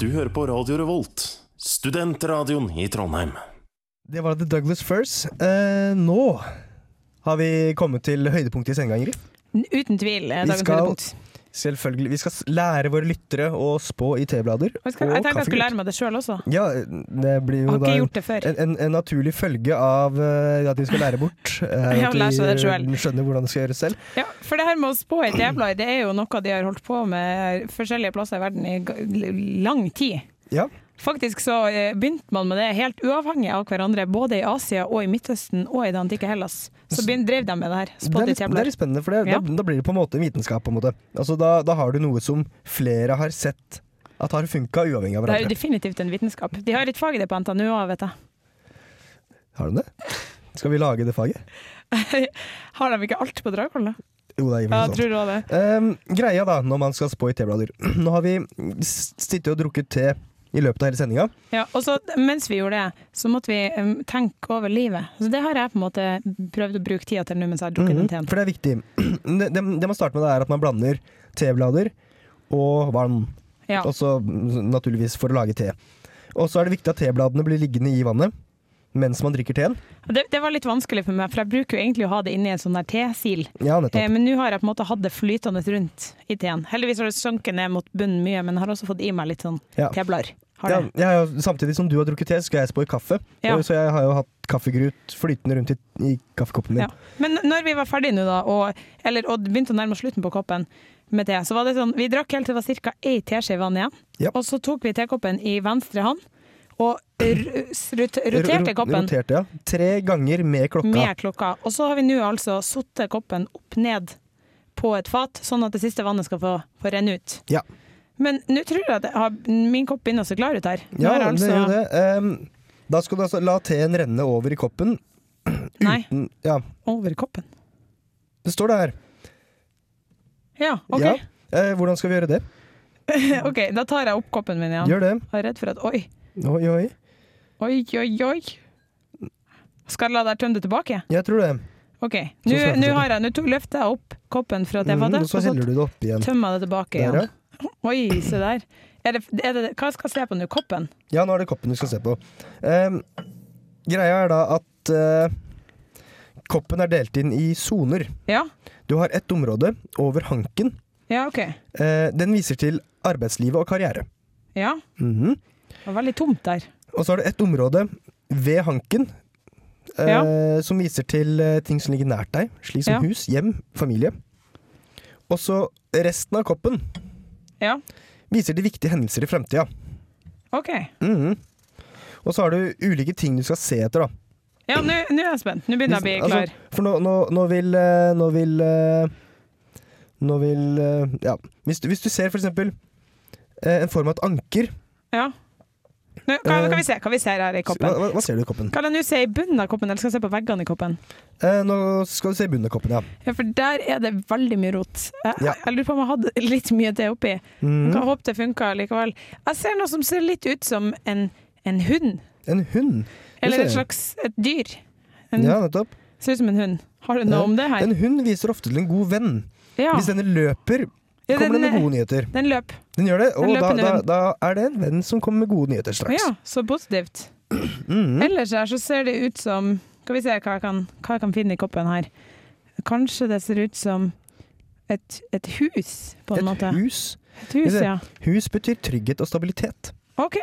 [SPEAKER 9] Du hører på Radio Revolt, studentradioen i Trondheim.
[SPEAKER 5] Det var The Douglas First. Eh, nå har vi kommet til høydepunktet i sendinga, Ingrid.
[SPEAKER 6] Uten tvil. eh,
[SPEAKER 5] Vi
[SPEAKER 6] Dagens
[SPEAKER 5] skal-
[SPEAKER 6] høydepunkt.
[SPEAKER 5] Selvfølgelig. Vi skal s- lære våre lyttere å spå i teblader.
[SPEAKER 6] Og Jeg, skal, jeg tenkte jeg skulle lære meg det sjøl også.
[SPEAKER 5] Ja, det blir
[SPEAKER 6] Jeg
[SPEAKER 5] jo
[SPEAKER 6] har
[SPEAKER 5] da Eh,
[SPEAKER 6] ikke
[SPEAKER 5] en,
[SPEAKER 6] gjort det før.
[SPEAKER 5] en, en, en naturlig følge av eh, at vi skal lære bort. eh,
[SPEAKER 6] Ja,
[SPEAKER 5] at
[SPEAKER 6] lære seg det selv.
[SPEAKER 5] vi skjønner hvordan det skal gjøres selv.
[SPEAKER 6] Ja, for det her med å spå et jævla, det er jo noe de har holdt på med forskjellige plasser i verden i ga- lang tid.
[SPEAKER 5] Ja.
[SPEAKER 6] Faktisk så eh, begynte man med det helt uavhengig av hverandre, både i Asia og i Midtøsten og i det antikke Hellas. Så begyn- drev de med det her.
[SPEAKER 5] Det er,
[SPEAKER 6] Spådde
[SPEAKER 5] litt, det er
[SPEAKER 6] tjevler.
[SPEAKER 5] litt spennende, for det,
[SPEAKER 6] Ja.
[SPEAKER 5] da, da blir det på en måte en vitenskap. på en måte. Altså, da, da har du noe som flere har sett at har funka, uavhengig av
[SPEAKER 6] Det
[SPEAKER 5] hverandre.
[SPEAKER 6] er jo definitivt en vitenskap. De har et fag i det på NTNU òg, vet jeg.
[SPEAKER 5] Har du det? Skal vi lage det faget?
[SPEAKER 6] Har de ikke alt på Dragvoll, da?
[SPEAKER 5] Jo, det er
[SPEAKER 6] Ja,
[SPEAKER 5] vel
[SPEAKER 6] jeg
[SPEAKER 5] sånn.
[SPEAKER 6] tror du det.
[SPEAKER 5] Ehm, greia, da, når man skal spå i teblader Nå har vi s- sittet og drukket te i løpet av hele sendinga.
[SPEAKER 6] Ja, og så mens vi gjorde det, så måtte vi um, tenke over livet. Så det har jeg på en måte prøvd å bruke tida til nå mens jeg har drukket den teen.
[SPEAKER 5] Mhm. For det er viktig. Det, det, det man starter med, er at man blander teblader og vann.
[SPEAKER 6] Ja.
[SPEAKER 5] Også mm, naturligvis for å lage te. Og så er det viktig at tebladene blir liggende i vannet mens man drikker teen.
[SPEAKER 6] Det, det var litt vanskelig for meg, for jeg bruker jo egentlig å ha det inni en sånn der tesil.
[SPEAKER 5] Ja,
[SPEAKER 6] Eh,
[SPEAKER 5] nettopp.
[SPEAKER 6] Men nå har jeg på en måte hatt det flytende rundt i teen. Heldigvis har det sunket ned mot bunnen mye, men har også fått i meg litt sånn
[SPEAKER 5] Ja.
[SPEAKER 6] teblar. Har
[SPEAKER 5] Ja,
[SPEAKER 6] det.
[SPEAKER 5] jeg har jo- samtidig som du har drukket te, skal jeg spå i kaffe.
[SPEAKER 6] Ja.
[SPEAKER 5] Og, så jeg har jo hatt kaffegrut flytende rundt i, i kaffekoppen min.
[SPEAKER 6] Ja. Men når vi var ferdige nå, da, og, eller, og det begynte å nærme oss slutten på koppen med te, så var det sånn Vi drakk helt til det var ca. ei teskje vann igjen,
[SPEAKER 5] Ja.
[SPEAKER 6] og så tok vi tekoppen i venstre hånd og r- s- rot-
[SPEAKER 5] Ro-
[SPEAKER 6] roterte
[SPEAKER 5] ro-
[SPEAKER 6] koppen
[SPEAKER 5] Roterte, ja. Tre ganger med klokka.
[SPEAKER 6] med klokka. Og så har vi nå altså satt koppen opp ned på et fat, sånn at det siste vannet skal få, få renne ut.
[SPEAKER 5] Ja.
[SPEAKER 6] Men nå tror jeg at jeg har, min kopp begynner å se klar ut her. Nå
[SPEAKER 5] Ja,
[SPEAKER 6] er altså
[SPEAKER 5] det gjør det. Ehm, da skal du altså la teen renne over i koppen.
[SPEAKER 6] Nei,
[SPEAKER 5] Mm, Ja,
[SPEAKER 6] over koppen.
[SPEAKER 5] det står det her.
[SPEAKER 6] Ja, OK.
[SPEAKER 5] Ja. Eh, hvordan skal vi gjøre det?
[SPEAKER 6] Ok, Da tar jeg opp koppen min igjen.
[SPEAKER 5] Gjør det.
[SPEAKER 6] Jeg er redd for at Oi,
[SPEAKER 5] Oi, oi.
[SPEAKER 6] oi, oi. oi. Skal jeg la deg tømme det tilbake?
[SPEAKER 5] Jeg tror det.
[SPEAKER 6] OK.
[SPEAKER 5] Så
[SPEAKER 6] Nå
[SPEAKER 5] skal jeg
[SPEAKER 6] nå
[SPEAKER 5] fortsette.
[SPEAKER 6] har jeg- nå to- løfter jeg opp koppen fra
[SPEAKER 5] Mm,
[SPEAKER 6] tefatet,
[SPEAKER 5] og så heller du det opp igjen.
[SPEAKER 6] tømmer jeg det tilbake
[SPEAKER 5] Der, ja.
[SPEAKER 6] igjen. Oi, se der. Er det, er det, hva skal jeg se på nå? Koppen?
[SPEAKER 5] ja, nå er det koppen du skal se på. Ehm, greia er da at eh, koppen er delt inn i soner.
[SPEAKER 6] Ja?
[SPEAKER 5] Du har ett område over hanken.
[SPEAKER 6] Ja, OK.
[SPEAKER 5] Eh, den viser til arbeidslivet og karriere.
[SPEAKER 6] Ja.
[SPEAKER 5] Mhm.
[SPEAKER 6] Det var veldig tomt der.
[SPEAKER 5] Og så har du ett område ved hanken eh, som viser til eh, ting som ligger nært deg, slik som
[SPEAKER 6] Ja.
[SPEAKER 5] hus, hjem, familie. Og så resten av koppen
[SPEAKER 6] Ja.
[SPEAKER 5] viser til viktige hendelser i fremtida.
[SPEAKER 6] OK.
[SPEAKER 5] Mhm. Og så har du ulike ting du skal se etter, da.
[SPEAKER 6] Ja, nå nå er jeg spent. Nå begynner jeg å bli
[SPEAKER 5] Altså,
[SPEAKER 6] klar.
[SPEAKER 5] for nå, nå, nå vil eh, Nå vil eh, Nå vil eh, Ja. Hvis du, hvis du ser for eksempel eh, en form av et anker
[SPEAKER 6] Ja. Nå, hva, hva, kan vi se? hva vi ser her i
[SPEAKER 5] hva,
[SPEAKER 6] koppen?
[SPEAKER 5] hva, hva ser du i koppen?
[SPEAKER 6] Kan jeg nå se i bunnen av koppen, eller skal jeg se på veggene i koppen?
[SPEAKER 5] Eh, nå skal du se i bunnen av koppen, ja.
[SPEAKER 6] Ja, For der er det veldig mye rot. Jeg,
[SPEAKER 5] Ja.
[SPEAKER 6] jeg lurer på om jeg hadde litt mye te oppi.
[SPEAKER 5] Mhm.
[SPEAKER 6] Kan håpe det funka likevel. Jeg ser noe som ser litt ut som en, en hund.
[SPEAKER 5] En hund. Det
[SPEAKER 6] Eller et
[SPEAKER 5] ser jeg.
[SPEAKER 6] slags et dyr. En,
[SPEAKER 5] Ja, nettopp.
[SPEAKER 6] Ser ut som en hund. Har du noe om det her?
[SPEAKER 5] En hund viser ofte til en god venn.
[SPEAKER 6] Ja.
[SPEAKER 5] Hvis denne løper,
[SPEAKER 6] Ja,
[SPEAKER 5] kommer den
[SPEAKER 6] den-
[SPEAKER 5] med gode nyheter.
[SPEAKER 6] Den løp.
[SPEAKER 5] Den gjør det,
[SPEAKER 6] den
[SPEAKER 5] og da,
[SPEAKER 6] løpende
[SPEAKER 5] da,
[SPEAKER 6] hunden.
[SPEAKER 5] da er det en venn som kommer med gode nyheter straks. Mm.
[SPEAKER 6] Ja, så positivt. Ellers her så ser det ut som Skal vi se hva jeg kan, hva jeg kan finne i koppen her. Kanskje det ser ut som et, et hus, på en
[SPEAKER 5] Et
[SPEAKER 6] måte.
[SPEAKER 5] hus.
[SPEAKER 6] Et hus,
[SPEAKER 5] Hvis det-
[SPEAKER 6] ja.
[SPEAKER 5] Hus betyr trygghet og stabilitet.
[SPEAKER 6] OK.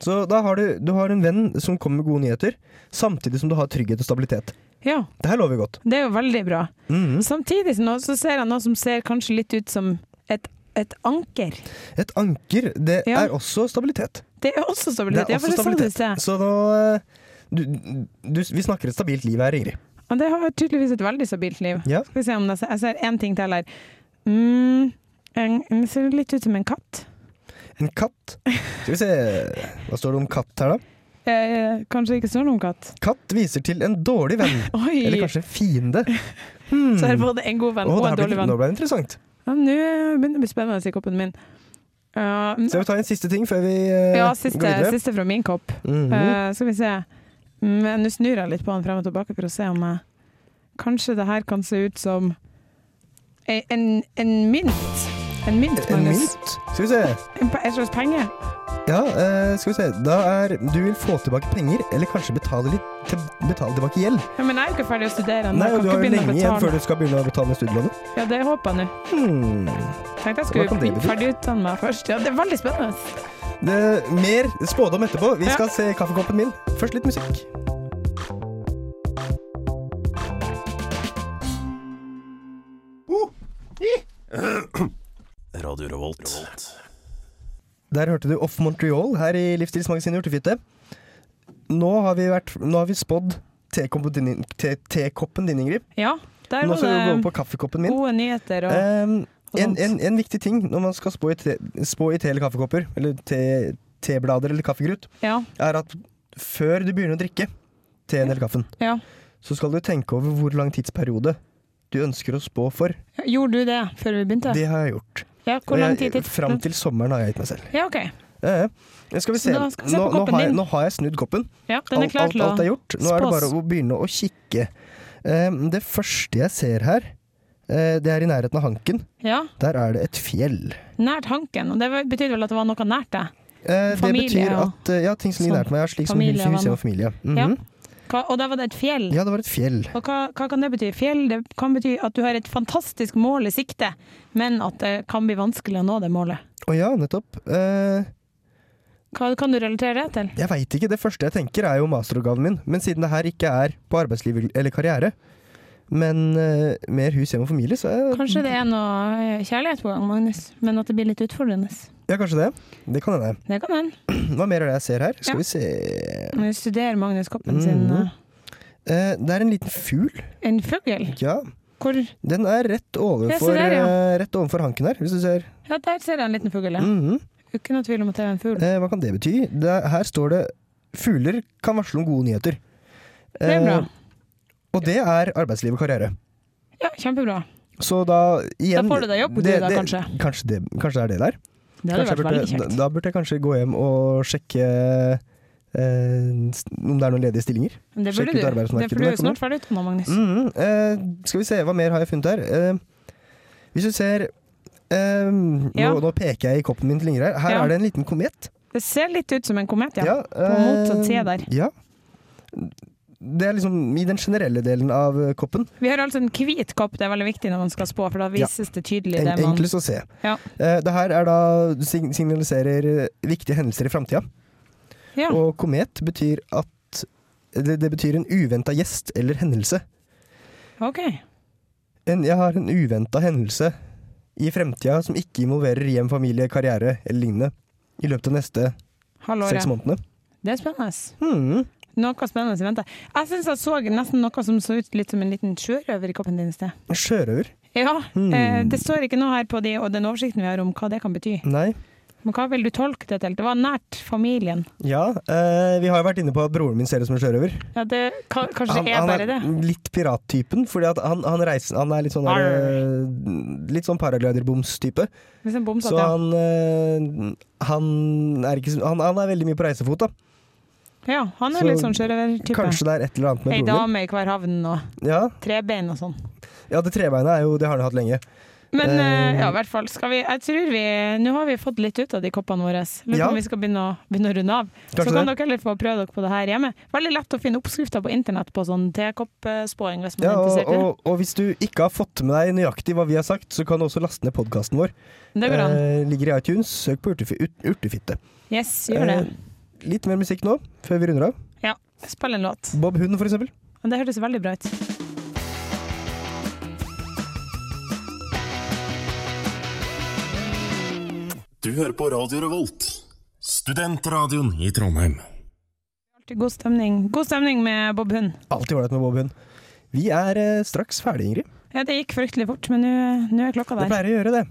[SPEAKER 5] Så da har du, du har en venn som kommer med gode nyheter, samtidig som du har trygghet og stabilitet.
[SPEAKER 6] Ja,
[SPEAKER 5] Det her lover godt.
[SPEAKER 6] det er jo veldig bra.
[SPEAKER 5] Mhm.
[SPEAKER 6] Samtidig så, nå, så ser jeg noe som ser kanskje litt ut som et, et anker.
[SPEAKER 5] Et anker, det
[SPEAKER 6] Ja.
[SPEAKER 5] er også stabilitet.
[SPEAKER 6] Det er også
[SPEAKER 5] Det
[SPEAKER 6] stabilitet.
[SPEAKER 5] er
[SPEAKER 6] ja, for
[SPEAKER 5] også
[SPEAKER 6] det sa du i sted.
[SPEAKER 5] Så nå eh, du, du, Vi snakker et stabilt liv her, Ingrid.
[SPEAKER 6] Og det har tydeligvis et veldig stabilt liv.
[SPEAKER 5] Ja.
[SPEAKER 6] Skal vi se om det, jeg ser én ting til her. Mm, en, den ser litt ut som en katt.
[SPEAKER 5] En katt. Skal vi se Hva står det om katt her, da?
[SPEAKER 6] Eh, kanskje det ikke står noe om katt.
[SPEAKER 5] Katt viser til en dårlig venn.
[SPEAKER 6] Oi!
[SPEAKER 5] Eller kanskje fiende. Hmm.
[SPEAKER 6] Så er det både en god venn
[SPEAKER 5] Åh,
[SPEAKER 6] og
[SPEAKER 5] det
[SPEAKER 6] en
[SPEAKER 5] her
[SPEAKER 6] dårlig
[SPEAKER 5] ble,
[SPEAKER 6] venn.
[SPEAKER 5] nå ble det interessant.
[SPEAKER 6] Ja, Nå begynner det å bli spennende i koppen min. Uh,
[SPEAKER 5] Så jeg vil ta en siste ting før vi eh,
[SPEAKER 6] ja,
[SPEAKER 5] går
[SPEAKER 6] siste,
[SPEAKER 5] videre.
[SPEAKER 6] siste fra min kopp.
[SPEAKER 5] Mhm.
[SPEAKER 6] Eh, skal vi se. Men Nå snur jeg litt på den frem og tilbake for å se om jeg Kanskje det her kan se ut som en, en, en mynt. En mynt,
[SPEAKER 5] en
[SPEAKER 6] Magnus.
[SPEAKER 5] mynt. Skal vi se.
[SPEAKER 6] En, pe- en slags penge.
[SPEAKER 5] Ja, eh, skal vi se. Da er Du vil få tilbake penger, eller kanskje betale litt til, betale tilbake gjeld.
[SPEAKER 6] Ja, men jeg er jo ikke ferdig å studere ennå.
[SPEAKER 5] Nei,
[SPEAKER 6] Jeg
[SPEAKER 5] og du
[SPEAKER 6] kan
[SPEAKER 5] har
[SPEAKER 6] ikke
[SPEAKER 5] jo
[SPEAKER 6] begynne å
[SPEAKER 5] lenge igjen
[SPEAKER 6] betale.
[SPEAKER 5] før du skal begynne å betale ned studielånet.
[SPEAKER 6] Ja, det håper jeg nå.
[SPEAKER 5] Hmm.
[SPEAKER 6] Tenkte
[SPEAKER 5] Hva
[SPEAKER 6] jeg
[SPEAKER 5] kan
[SPEAKER 6] skulle
[SPEAKER 5] det
[SPEAKER 6] bli
[SPEAKER 5] bety?
[SPEAKER 6] ferdigutdanne meg først. Ja, det er veldig spennende.
[SPEAKER 5] Det, mer spådom etterpå. Vi
[SPEAKER 6] Ja.
[SPEAKER 5] skal se kaffekoppen min. Først litt musikk.
[SPEAKER 9] Radio Revolt.
[SPEAKER 5] Der hørte du Off Montreal her i Livsstilsmagasinet Urtefitte. Nå har vi, vært, nå har vi spådd tekoppen din, te, tekoppen din, Ingrid.
[SPEAKER 6] Ja, der
[SPEAKER 5] Nå
[SPEAKER 6] var
[SPEAKER 5] skal vi gå over
[SPEAKER 6] det
[SPEAKER 5] på kaffekoppen min.
[SPEAKER 6] gode nyheter. Og,
[SPEAKER 5] Ehm,
[SPEAKER 6] og
[SPEAKER 5] en,
[SPEAKER 6] sånt.
[SPEAKER 5] en, en viktig ting når man skal spå i te, spå i te eller kaffekopper, eller te, teblader eller kaffegrut,
[SPEAKER 6] ja,
[SPEAKER 5] er at før du begynner å drikke teen eller kaffen,
[SPEAKER 6] ja.
[SPEAKER 5] så skal du tenke over hvor lang tidsperiode du ønsker å spå for.
[SPEAKER 6] Gjorde du det før vi begynte?
[SPEAKER 5] Det har jeg gjort.
[SPEAKER 6] ja, hvor lang
[SPEAKER 5] Og
[SPEAKER 6] tid
[SPEAKER 5] jeg,
[SPEAKER 6] titt?
[SPEAKER 5] fram til sommeren har jeg gitt meg selv.
[SPEAKER 6] Ja, OK.
[SPEAKER 5] Ja, ja. Skal vi se.
[SPEAKER 6] Så da skal vi se
[SPEAKER 5] nå,
[SPEAKER 6] på
[SPEAKER 5] nå,
[SPEAKER 6] koppen
[SPEAKER 5] har jeg,
[SPEAKER 6] din.
[SPEAKER 5] nå har jeg snudd koppen.
[SPEAKER 6] Ja, den er
[SPEAKER 5] alt,
[SPEAKER 6] klar
[SPEAKER 5] alt,
[SPEAKER 6] til å
[SPEAKER 5] alt er gjort. Nå er det
[SPEAKER 6] spås.
[SPEAKER 5] bare å begynne å kikke. Ehm, det første jeg ser her, eh, det er i nærheten av Hanken.
[SPEAKER 6] Ja,
[SPEAKER 5] Der er det et fjell.
[SPEAKER 6] nært hanken. Og det var- betydde vel at det var noe nært deg?
[SPEAKER 5] Eh, det
[SPEAKER 6] Familie,
[SPEAKER 5] betyr
[SPEAKER 6] ja.
[SPEAKER 5] at eh, Ja, ting som ligger
[SPEAKER 6] Sånn.
[SPEAKER 5] nært meg, er slik som
[SPEAKER 6] Familie,
[SPEAKER 5] hus, hus, hjem
[SPEAKER 6] venner.
[SPEAKER 5] og familie.
[SPEAKER 6] Ja.
[SPEAKER 5] Mhm.
[SPEAKER 6] Hva, og da var det et fjell.
[SPEAKER 5] Ja, det var et fjell.
[SPEAKER 6] Og hva, hva kan det bety? Fjell det kan bety at du har et fantastisk mål i sikte, men at det kan bli vanskelig å nå det målet.
[SPEAKER 5] Å ja, nettopp. Eh,
[SPEAKER 6] Hva kan du relatere det til?
[SPEAKER 5] jeg veit ikke. Det første jeg tenker, er jo masteroppgaven min. Men siden det her ikke er på arbeidsliv eller karriere, men eh, mer hus, hjem og familie, så er
[SPEAKER 6] Kanskje det er noe eh, kjærlighet på gang, Magnus, men at det blir litt utfordrende.
[SPEAKER 5] Ja, kanskje det. Det kan hende.
[SPEAKER 6] Det kan hende.
[SPEAKER 5] Hva mer er det jeg ser her? Skal
[SPEAKER 6] Ja.
[SPEAKER 5] vi se
[SPEAKER 6] Når vi studerer Magnus Koppen sin
[SPEAKER 5] Mhm.
[SPEAKER 6] eh,
[SPEAKER 5] Eh, Det er en liten fugl.
[SPEAKER 6] En fugl?
[SPEAKER 5] Ja.
[SPEAKER 6] Hvor
[SPEAKER 5] Den er rett overfor,
[SPEAKER 6] der, ja.
[SPEAKER 5] eh, rett overfor hanken her, hvis du ser.
[SPEAKER 6] Ja, der ser jeg en liten fugl, ja.
[SPEAKER 5] Mhm.
[SPEAKER 6] Ikke noe tvil om at det er en fugl.
[SPEAKER 5] Eh, Hva kan det bety? Det, er- her står det 'Fugler kan varsle om gode nyheter'.
[SPEAKER 6] Det er bra.
[SPEAKER 5] Eh, og det er arbeidsliv og karriere.
[SPEAKER 6] Ja, kjempebra.
[SPEAKER 5] Så da igjen
[SPEAKER 6] Da får du deg jobb, du, da, kanskje.
[SPEAKER 5] Kanskje det, kanskje det er det der.
[SPEAKER 6] Det hadde
[SPEAKER 5] Kanskje
[SPEAKER 6] vært veldig
[SPEAKER 5] jeg burde, da,
[SPEAKER 6] kjekt.
[SPEAKER 5] da burde jeg kanskje gå hjem og sjekke eh, s- om det er noen ledige stillinger.
[SPEAKER 6] Men det
[SPEAKER 5] sjekk
[SPEAKER 6] burde
[SPEAKER 5] ut
[SPEAKER 6] du. Det
[SPEAKER 5] arbeidsmarkedet,
[SPEAKER 6] for du er
[SPEAKER 5] det
[SPEAKER 6] jo
[SPEAKER 5] kommer.
[SPEAKER 6] snart ferdig utdanna, Magnus.
[SPEAKER 5] Mhm. Eh, skal vi se, hva mer har jeg funnet her? Eh, hvis du ser eh,
[SPEAKER 6] Ja.
[SPEAKER 5] nå, nå peker jeg i koppen min til Ingrid her. Her
[SPEAKER 6] Ja.
[SPEAKER 5] er det en liten komet.
[SPEAKER 6] Det ser litt ut som en komet, ja.
[SPEAKER 5] eh,
[SPEAKER 6] motsatt side der.
[SPEAKER 5] Ja. Det er liksom i den generelle delen av eh, koppen.
[SPEAKER 6] Vi har altså en hvit kopp, det er veldig viktig når man skal spå, for da vises det tydelig
[SPEAKER 5] En,
[SPEAKER 6] det man
[SPEAKER 5] enklest å se.
[SPEAKER 6] Ja.
[SPEAKER 5] Eh, det her er da sign- signaliserer eh, viktige hendelser i framtida.
[SPEAKER 6] Ja,
[SPEAKER 5] Og komet betyr at det, det betyr en uventa gjest eller hendelse.
[SPEAKER 6] OK.
[SPEAKER 5] En, jeg har en uventa hendelse i fremtida som ikke involverer hjem, familie, karriere eller lignende. I løpet av neste seks
[SPEAKER 6] Halvåret.
[SPEAKER 5] månedene.
[SPEAKER 6] Det er spennende.
[SPEAKER 5] Hmm.
[SPEAKER 6] Noe spennende i vente. Jeg syns jeg så nesten noe som så ut litt som en liten sjørøver i koppen din i sted.
[SPEAKER 5] Sjørøver?
[SPEAKER 6] Ja, eh,
[SPEAKER 5] Hmm.
[SPEAKER 6] det står ikke noe her på de, og den oversikten vi har om hva det kan bety.
[SPEAKER 5] Nei.
[SPEAKER 6] Men hva vil du tolke det til? Det var nært familien.
[SPEAKER 5] Ja, eh, vi har jo vært inne på at broren min ser ut som en sjørøver.
[SPEAKER 6] Ja, det, ka, kanskje
[SPEAKER 5] Han,
[SPEAKER 6] det er
[SPEAKER 5] han
[SPEAKER 6] bare det?
[SPEAKER 5] er litt pirattypen, fordi at han, han, reiser, han er litt sånn, der, eh, litt sånn paragliderboms-type.
[SPEAKER 6] Hvis en bomsatt,
[SPEAKER 5] Så
[SPEAKER 6] ja.
[SPEAKER 5] han, eh, han, er ikke, så- han, han er veldig mye på reisefot, da.
[SPEAKER 6] Ja, han er
[SPEAKER 5] så
[SPEAKER 6] litt sånn sjørøvertype.
[SPEAKER 5] Kanskje det er et eller annet
[SPEAKER 6] Ei
[SPEAKER 5] med broren
[SPEAKER 6] dame i hver havn og
[SPEAKER 5] min. Ja,
[SPEAKER 6] trebein og sånn.
[SPEAKER 5] ja det trebeinet er jo, det har han jo hatt lenge.
[SPEAKER 6] Men
[SPEAKER 5] Eh.
[SPEAKER 6] eh, ja, i hvert fall skal vi Jeg tror vi Nå har vi fått litt ut av de koppene våre. Lurer på
[SPEAKER 5] Ja.
[SPEAKER 6] om vi skal begynne å, begynne å runde av.
[SPEAKER 5] Kanskje
[SPEAKER 6] så kan
[SPEAKER 5] det.
[SPEAKER 6] dere heller få prøve dere på det her hjemme. Veldig lett å finne oppskrifter på internett på sånn tekoppspåing hvis man
[SPEAKER 5] Ja,
[SPEAKER 6] er
[SPEAKER 5] og,
[SPEAKER 6] interessert i
[SPEAKER 5] og, og hvis du ikke har fått med deg nøyaktig hva vi har sagt, så kan du også laste ned podkasten vår.
[SPEAKER 6] det. Det går an.
[SPEAKER 5] Eh, ligger i iTunes. Søk på urtefi, ut, Urtefitte.
[SPEAKER 6] Yes, gjør det.
[SPEAKER 5] Eh, litt mer musikk nå, før vi runder av.
[SPEAKER 6] Ja, spill en låt.
[SPEAKER 5] Bob Hund, for eksempel.
[SPEAKER 6] Men det hørtes veldig bra ut.
[SPEAKER 9] Du hører på Radio Revolt, studentradioen i Trondheim.
[SPEAKER 6] Alltid God stemning. God stemning med Bob Hund.
[SPEAKER 5] Alltid ålreit med Bob Hund. Vi er eh, straks ferdig, Ingrid.
[SPEAKER 6] Ja, det gikk fryktelig fort, men nå- nå er klokka
[SPEAKER 5] Det
[SPEAKER 6] der.
[SPEAKER 5] pleier å gjøre det.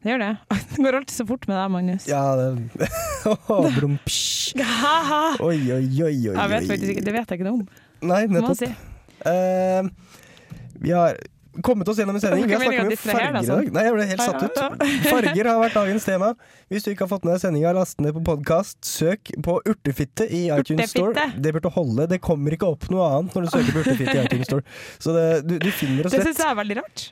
[SPEAKER 6] Det gjør det. Det går alltid så fort med deg, Magnus.
[SPEAKER 5] Ja, det Brum, psj.
[SPEAKER 6] Ha-ha!
[SPEAKER 5] Oi, oi, oi, oi.
[SPEAKER 6] Jeg vet
[SPEAKER 5] oi.
[SPEAKER 6] faktisk ikke, det vet jeg ikke noe om.
[SPEAKER 5] Nei,
[SPEAKER 6] må man
[SPEAKER 5] nettopp.
[SPEAKER 6] Si.
[SPEAKER 5] Eh, vi har kommet oss gjennom en sending. Vi har snakket
[SPEAKER 6] Det var ikke meningen
[SPEAKER 5] om
[SPEAKER 6] å distrahere
[SPEAKER 5] farger
[SPEAKER 6] deg
[SPEAKER 5] i
[SPEAKER 6] sånn.
[SPEAKER 5] dag. Nei, jeg ble helt satt ut. Farger har vært dagens tema. Hvis du ikke har fått med deg sendinga, last ned på podkast. Søk på Urtefitte i iTunes Store.
[SPEAKER 6] Urtefitte.
[SPEAKER 5] Det burde holde. Det kommer ikke opp noe annet når du søker på Urtefitte i iTunes Store. Så det, du, du finner oss
[SPEAKER 6] Det
[SPEAKER 5] rett.
[SPEAKER 6] syns jeg er veldig rart.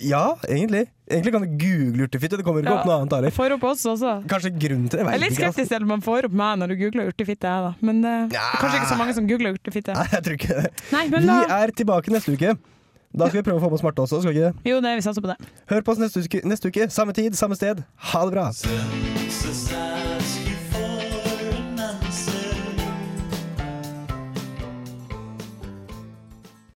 [SPEAKER 5] Ja, egentlig. Egentlig kan du google Urtefitte. Det kommer ikke
[SPEAKER 6] Ja.
[SPEAKER 5] opp noe annet
[SPEAKER 6] Jeg
[SPEAKER 5] heller.
[SPEAKER 6] får opp oss også.
[SPEAKER 5] Kanskje grunnen til det?
[SPEAKER 6] Jeg er
[SPEAKER 5] Jeg
[SPEAKER 6] litt
[SPEAKER 5] vet ikke. Altså.
[SPEAKER 6] skeptisk til at man får opp meg når du googler urtefitte, jeg da. Men eh,
[SPEAKER 5] Ja.
[SPEAKER 6] kanskje ikke så mange som googler urtefitte.
[SPEAKER 5] Nei, jeg tror ikke det.
[SPEAKER 6] Nei, men
[SPEAKER 5] Vi
[SPEAKER 6] da
[SPEAKER 5] er tilbake neste uke. Da skal vi prøve å få med oss Marte også. skal vi ikke? det?
[SPEAKER 6] Jo, det, vi satser på det.
[SPEAKER 5] Hør på oss neste uke, neste uke, samme tid, samme sted. Ha det bra!
[SPEAKER 7] Søster